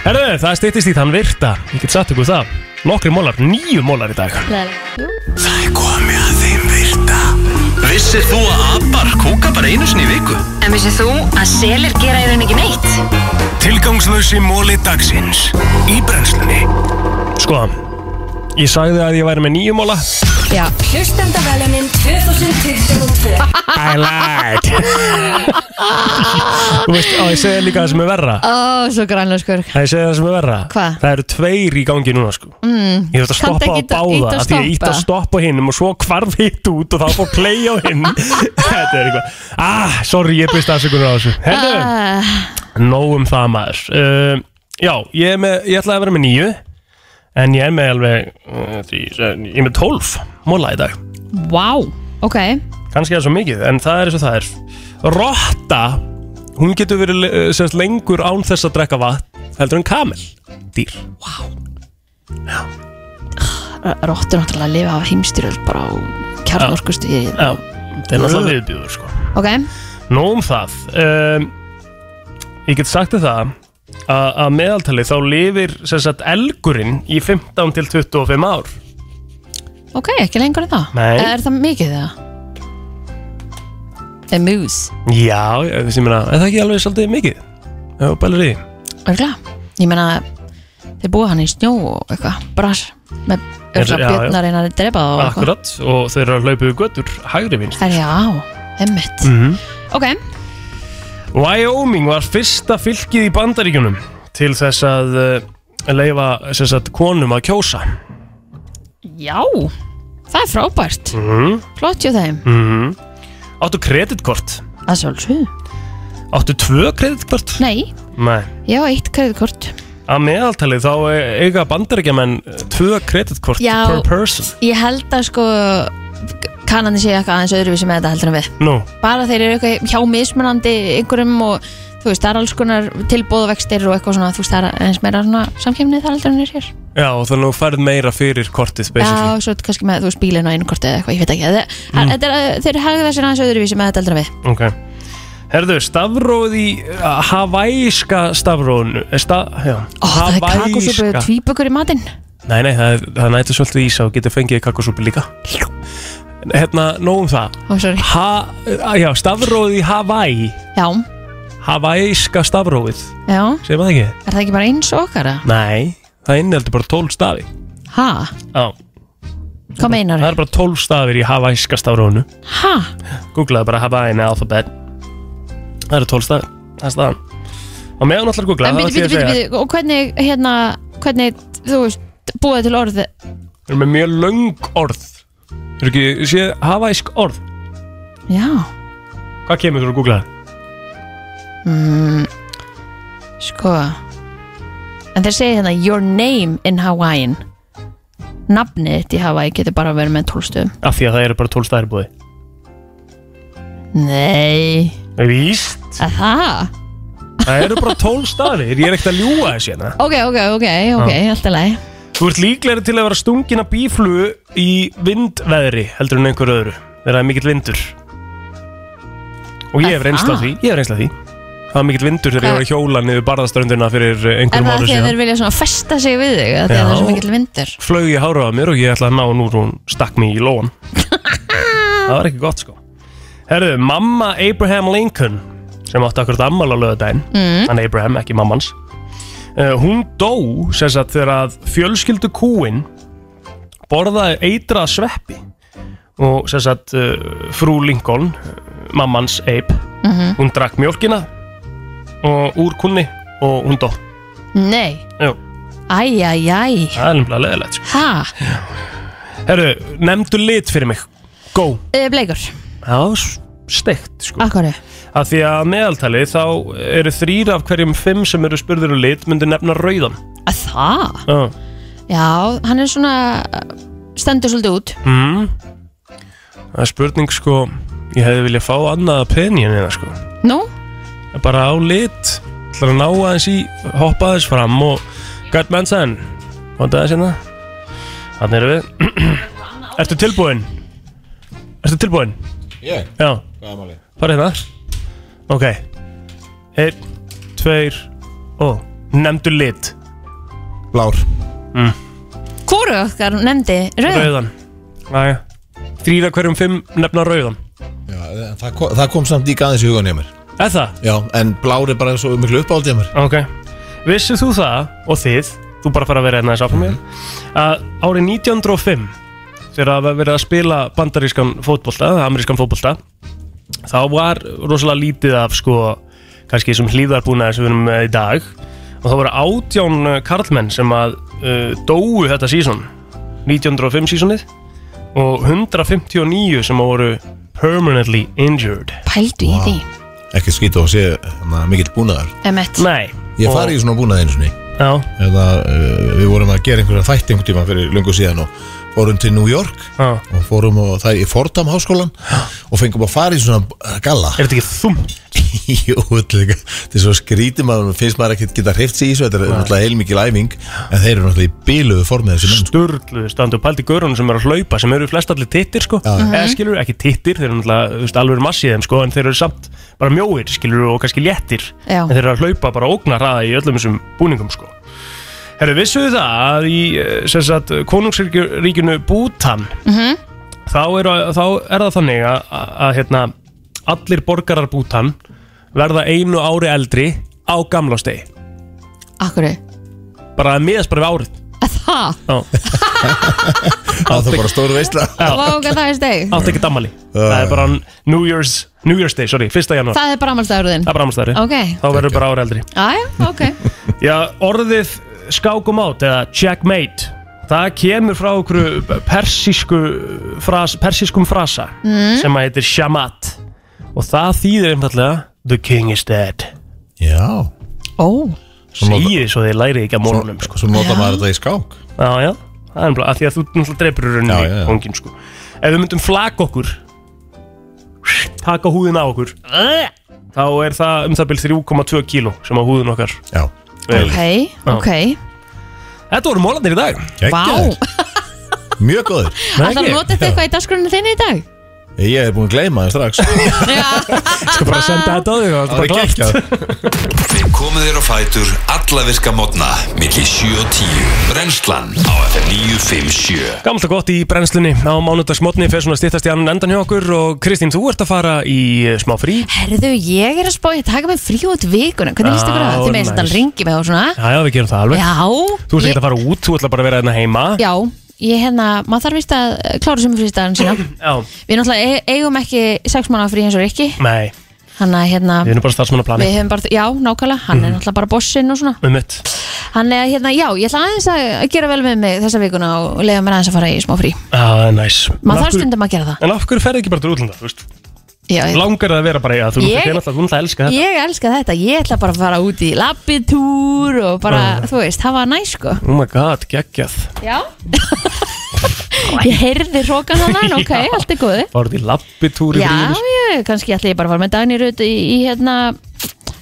C: Herðu, það stýttist í þann virta Ég get satt ykkur það Nokkri mólar, nýju mólar í dag
E: Það er komið að þeim virta Vissir þú að abar kúka bara einu sinni í viku?
Q: En vissið þú að selir gera í raun ekki neitt?
E: Tilgangslösi móli dagsins Í brennslunni
C: Sko, ég sagði að ég væri með nýju móla
B: Já.
Q: Hlustendavælunin 2022
C: I lied Þú veist, á ég segja líka það sem er verra
B: Ó, svo grænlöskur
C: Það ég segja það sem er verra
B: Hvað?
C: Það eru tveir í gangi núna sko
B: mm.
C: Ég þurft að
B: Kanntu
C: stoppa á
B: ekki að-
C: báða
B: ýta á
C: af Því ég ítt að
B: stoppa?
C: stoppa á hinnum og svo hvarf hitt út og þá fór play á hinn Þetta er eitthvað Ah, sorry, ég byrst aðsökunar á þessu Hérna,
B: Ah,
C: nóg um það maður uh, Já, ég, er með, ég ætlaði að vera með nýju En ég er með alveg uh, því, Ég er með tólf Móla í dag
B: Vá, ok
C: kannski er það svo mikið, en það er eins og það er Rotta hún getur verið le- eh, sem sagt, lengur án þess að drekka vatn heldur en kamel dýr
B: Róttur náttúrulega að lifa á heimstyrjöld bara á kjarnorkustu
C: Já, það er náttúrulega viðbjúður sko
B: Ok,
C: Nó um það um, Ég get sagt þér það að, að meðaltali þá lifir sem sagt elgurinn í 15 til 25 ár
B: ok, ekki lengur en það
C: Nei.
B: Er það mikið það? The Moose
C: Já, ég- þessi meina, er það ekki alveg svolítið mikið? Já, bælir í því.
B: Örgulega, ég meina þeir búa hann í snjó og eitthvað bras með
C: Er- já,
B: örgulega
C: já.
B: björnar einar að drepa það og eitthvað
C: Akkurat, og þeir eru að hlaupa við göttur hægri vinst
B: Það er já, emmitt Ok,
C: Wyoming var fyrsta fylkið í bandaríkjunum til þess að uh, leifa þess að konum að kjósa
B: já Það er frábært,
C: mm -hmm.
B: flott hjá þeim
C: Mhm. Áttu kreditkort
B: Að sjálfsögðu
C: Áttu tvö kreditkort
B: Nei,
C: Nei
B: ég á eitt kreditkort
C: Að meðaltalið þá eh, eiga bandaríkjamenn eh, tvö kreditkort
B: Já.
C: per person
B: Ég held að sko kannandi sé eitthvað aðeins öðruvísi með þetta heldur en við
C: Nú,
B: bara þeir eru eitthvað hjá mismunandi einhverjum og þú veist, það er alls konar tilbóðvextir og eitthvað svona, þú veist, það er eins meira svona samkemni þar heldur en er hér
C: já þannig að þú færð meira fyrir kortið
B: Já,
C: basically
B: svo kannski með, þú veist, bílinn og einkorti eða eitthvað, ég veit ekki Þe, mm. er, uh, Þeir hagða sér aðeins öðruvísi með þetta heldur en við
C: Ok Herðu, stafróð í uh, hawaiiska stafróðinu eh, sta, Ó,
B: Það er kakosúpu
C: sko.
B: og tvíbökur í matinn
C: Nei, nei, það, það nættu svolítið ís og getur fengið kakosúpi líka Hérna, nóg um það
B: Ó, sorry.
C: ha, Já, stafróðið í Hawaii
B: Já,
C: Hawaiiska stafróðið
B: já,
C: Segir maður það ekki?
B: er það ekki bara eins og okkar? eða?
C: Nei, það inneldur bara 12 stafi
B: Ha,
C: Já,
B: hvað meinar
C: það
B: þau?
C: er bara 12 stafir í hawaiiska stafróðinu
B: Ha,
C: Googlaðu bara Hawaiian alphabet Það eru 12 stafir, það er staðan Og meðan allar googla
B: en býtu, býtu, býtu, býtu Og hvernig, hérna, hvernig, þú veist, búið til orð
C: Það eru með mjög löng orð Þú eru ekki, sé hawaiisk orð
B: Já
C: Hvað kemur þú að googla það?
B: mm, Sko En þeir segja hérna Your name in Hawaiian Nafnið þitt í Hawaii getur bara verið með tólstöðum
C: Af því að það eru bara 12 staðir búið
B: Nei Ah.
C: Víst
B: að Það?
C: Það eru bara 12 staðir, ég er ekkert að ljúa þessi hérna
B: Ok, ok, ok, ok, allt í lagi
C: Þú ert líklegri til að vera stungin að bíflugu í vindveðri heldur en einhverju öðru þegar það er mikill vindur Og ég hef reynsla því, ég hef reynsla því Það var mikill vindur þegar ég var að hjóla niður barðaströndina fyrir
B: Er
C: einhverjum
B: það
C: áru
B: því að þeir
C: síðan
B: vilja svona festa sig við þig að því að
C: Já.
B: það er svo mikill vindur
C: Flög ég hárað á mér og ég ætlaði að ná núr hún stakk mig í lóan Það var ekki gott sko Herðu, mamma Abraham Lincoln sem átti akkurat ammál á lögadaginn
E: Mm.
C: hann Abraham, ekki mammans uh, hún dó sem sagt þegar að fjölskyldu kúin borðaði eitra sveppi og sem sagt uh, frú Lincoln uh, mammans Abe
B: Mhm.
C: hún drakk mjólkina og úr kunni og hún dó
B: Nei,
C: Jú,
B: æ, æ, æ
C: það er nefnilega leðilegt sko.
B: Ha,
C: herru, nefndu lit fyrir mig go
B: uh, bleikur,
C: Já, steikt sko
B: akkori
C: Af því að meðaltali þá eru þrýr af hverjum fimm sem eru spurður um lit myndi nefna rauðan
B: Að það?
C: Já
B: Já, hann er svona uh, stendur svolítið út
C: mm. Það er spurning sko Ég hefði viljað fá annað opinion eða sko
B: Nú,
C: Bara á lit Það að ná aðeins í hoppa aðeins fram og Gert Manson Vandu aðeins hérna Þannig erum við Ertu tilbúin? Ertu tilbúin?
D: Ég?
C: Já
D: Hvað er málið?
C: Farið hérna Ok Einn, tveir og Nefndu lit
D: Blár
C: mm.
B: hvoru okkar nefndi rauð
C: Rauðan Næja Þrýra hverjum fimm nefna rauðan
D: Já, en það, kom, það kom samt líka aðeins í hugan hjá mér
C: Er það?
D: Já, en blár er bara svo miklu uppáldið hjá mér
C: Ok Vissið þú það og þið Þú bara fara að vera hérna þess áfram mér Að árið 1905 þegar það var verið að spila bandarískan fótbolta, amerískan fótbolta þá var rosalega lítið af sko, kannski þessum hlýðarbúnaði sem við erum með í dag og það voru átján eh, karlmenn sem að uh, dóu þetta sísón 1905 sísónið og 159 sem að voru permanently injured
B: Pældu í því
P: Ekki skýta og sé
D: hérna,
P: hana, mikill búnaðar
B: Emmett
C: Nei
P: Ég fari í svona búnað einu sinni
C: Já
P: Eða, uh, Við vorum að gera einhverja þætti einhvern tíma fyrir lungu síðan og fórum til New York
C: Já.
P: og fórum og það í Fordham háskólan og fengum að fara í svona uh, galla
C: Er þetta ekki þumt?
P: Jú, þetta er líka- þetta er svo skrítið maður finnst maður ekkert geta hreift sig í svo þetta er náttúrulega heilmikil æfing en þeir eru náttúrulega í bíluðu formið þessi menn
C: Sturluðu standu og pældi görunum sem eru að hlaupa sem eru flest allir tittir sko
P: já.
C: eða skilur ekki tittir, þeir eru náttúrulega þú veist, alveg massið þeim sko en þeir eru samt bara mjóir skilur og kannski léttir
B: Já.
C: en þeir eru að hlaupa bara ógna hraða í öllum þessum búningum sko Herru, vissuðu það að í eh, sem sagt, konungsríkinu Bútan
B: Mhm.
C: þá er, þá er það þannig að, að, að hérna, allir borgarar Bútan verða einu ári eldri á gamlástegi
B: Akkur
C: bara að miðast bara við árið
B: Það
C: Já Það er bara
P: stóru veistla
B: Vága það er steg
C: Átt ekki dammali
P: Uh.
C: Það er bara New Year's New Year's Day, sorry, fyrsta janúar
B: Það er bara ámaldagurðin
C: Það er bara ámastæri
B: Ok.
C: Þá verður bara ára eldri
B: Æja, ok
C: Já, orðið skákum át eða checkmate Það kemur frá okkur persísku fras, persískum frasa
E: Mm.
C: sem að heitir shamat og það þýðir einfallega The king is dead
P: Já
B: Ó
C: Sýði svo þið lærið ekki að mólunum sko.
P: Svo nota Já. maður þetta í skák
C: Já, já, það er bara að því að þú náttúrulega dreipur
P: Já, já,
C: rauninni
P: já.
C: kongin sko. Ef við myndum flaka okkur taka húðina á okkur þá er það um það byrð 3,2 kíló sem á húðin okkar
P: Já,
B: Ok, ok
C: Þetta voru mólandir í dag
B: Vá Það
P: Mjög góður
B: þarf að nota þetta eitthvað í dagskrunni þinni í dag
P: Ég hef búin að gleyma það strax
C: Skal bara senda þetta á þig
P: Það var geggjað
E: Við komum þér á fætur alla virka mótna millir 7 og 10 Brennslan á FM 957
C: Gamla gott í brennslunni á mánudagsmotni fyrir svona stýttast í annan endan hjá okkur og Kristín, þú ert að fara í eh, smá frí
B: Herðu, ég er að spá ég að taka mig frí út vikuna Hvernig líst ykkur á
C: Já,
B: það? Þið meðist
C: nice.
B: þannig ringi mig og svona
C: Já, já, við gerum það alveg
B: Já
C: Þú ert ekki að fara út, þú ætla bara að vera hérna heima
B: Já, ég hérna, maður þarf vist að eh, klára sumufrístaðan sína
C: Já.
B: Við náttúrulega e- eigum ekki sex mánu frí eins og Rikki
C: Nei,
B: Hann að hérna
C: við erum bara starfsmannaplani
B: Við höfum bara, já, nákvæmlega, hann er
C: Mhm.
B: náttúrulega bara bossinn og svona
C: Um mitt
B: Hann er hérna, já, ég ætla aðeins að að gera vel með mig þessa vikuna og leiða mér aðeins að fara í smá frí
C: Já, það er næs En
B: Maður
C: af
B: þarf
C: hverju-
B: stundum að gera það
C: En af hverju ferði ekki bara til útlanda, þú veist?
B: Já, ég-
C: Langar það að vera bara í að þú
B: Ég-
C: náttúrulega náttúrulega, þú náttúrulega elska þetta
B: Ég elska þetta, ég ætla bara að fara út í labbitúr og bara, þú veist, hafa næ sko
C: Oh my god, geggjað
B: Já Ég heyrði hrókan hann en ok, allt er góði
C: Fáruð í sko. labbitúri
B: Já, ég, kannski ætla ég bara að fara með Dagný Rut í, í hérna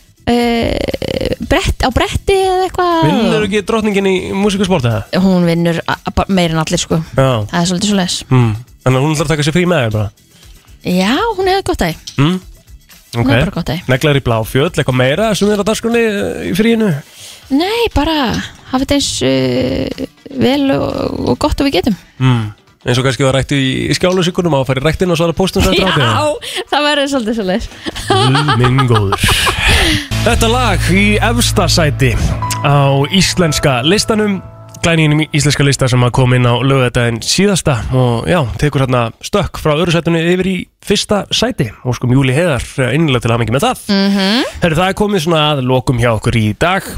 B: uh, brett, á bretti eða eitthvað
C: Vinnur ekki drottningin í músík og sport eða?
B: Hún vinnur a- a- bara meira en allir sko
C: Já
B: Það er svolítið svo les
C: mm. Þannig að hún ætlar að taka sér frí með þér bara
B: Já, hún hefði gott að
C: mm.
B: Hún
C: Ok.
B: er bara gott, eh. ei.
C: Neglar í bláfjöll, eitthvað meira sem er á dagskrunni eh, í fríinu
B: Nei, bara hafa þetta eins uh, vel og, og gott og við getum
C: mm. Eins og kannski var rætt í, í skjálusíkunum á að fara í rættin og svara póstum sem þetta
B: Já,
C: átið
B: það verður svolítið svo les
C: Minn góður Þetta lag í efsta sæti á íslenska listanum Glæninginum íslenska lista sem að kom inn á lögðardaginn síðasta og já, tekur hérna stökk frá öðru sætunni yfir í fyrsta sæti og sko mjúli heðar innlega til að hafa mikið með það
E: Mhm.
C: Herru, það er komið svona að lokum hjá okkur í dag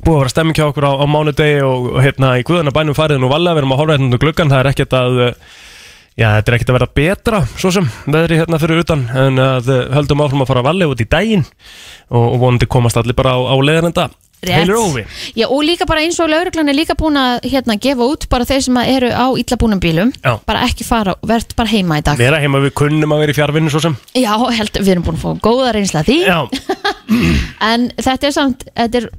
C: Búið að vera stemming hjá okkur á, á mánudegi og, og hérna í guðana bænum farið nú vallega, við erum að horfa hérna um gluggan, það er ekkert að uh, Já, þetta er ekkert að vera betra, svo sem veðri hérna fyrir utan, en að uh, höldum áfram að fara að vallega út í daginn og, og vonandi komast allir bara á, á leiðarenda
B: Rétt.
C: Heilur óvi
B: Já, og líka bara eins og lauruglan er líka búin að hérna, gefa út bara þeir sem að eru á illabúnum bílum
C: Já.
B: bara ekki fara, verð bara heima í dag
C: Vera heima við kunnum að vera í fjárvinni, svo sem
B: Já, held, við erum búin að fá góða reynsla af því
C: Já.
B: En þetta er samt þetta er,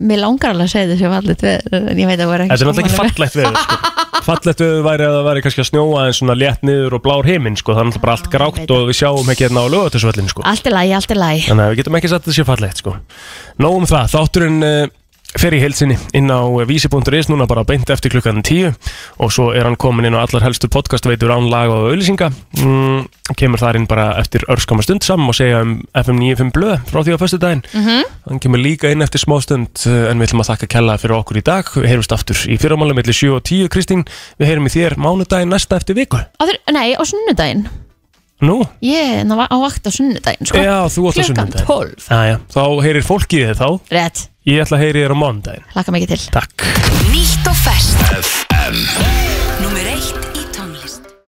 B: mér langar alveg að segja þessi vallit en ég veit að það voru ekki
C: Þetta er náttúrulega ekki
B: sammála mér.
C: fallegt veður sko. Fallegt veður væri að það væri kannski að snjóa en svona létt niður og blár heiminn sko. Það er náttúrulega bara allt grátt og við sjáum ekki hérna á lögatisvöllin sko.
B: Allt er lægi, allt er lægi
C: Þannig að við getum ekki sagt að þetta sé fallegt sko. Nóg um það, þátturinn uh, fer í heilsinni inn á eh, vísi.is núna bara beint eftir klukkan 10 og svo er hann komin inn á allar helstu podcastveitur án laga og auðlýsinga mm, kemur þar inn bara eftir örskama stund saman og segja um FM 95 blöð frá því á föstu daginn
R: Mhm.
C: hann kemur líka inn eftir smástund eh, en við ætlum að þakka kella fyrir okkur í dag við heyrumst aftur í fyrramála mellir 7 og 10 Kristín, við heyrum í þér mánudaginn næsta eftir viku
B: Áður, nei, á sunnudaginn
C: Nú?
B: Ég, það var á vakt á sunnudaginn sko.
C: Já, þú átt á
B: Klukkan
C: sunnudaginn.
B: 12
C: Jæja, þá heyrir fólki í þér þá
B: Rétt,
C: Ég ætla að heyri þér á mánudaginn
B: laka mikið til
C: Takk
Q: Nýtt og fest
E: FM
Q: Númer eitt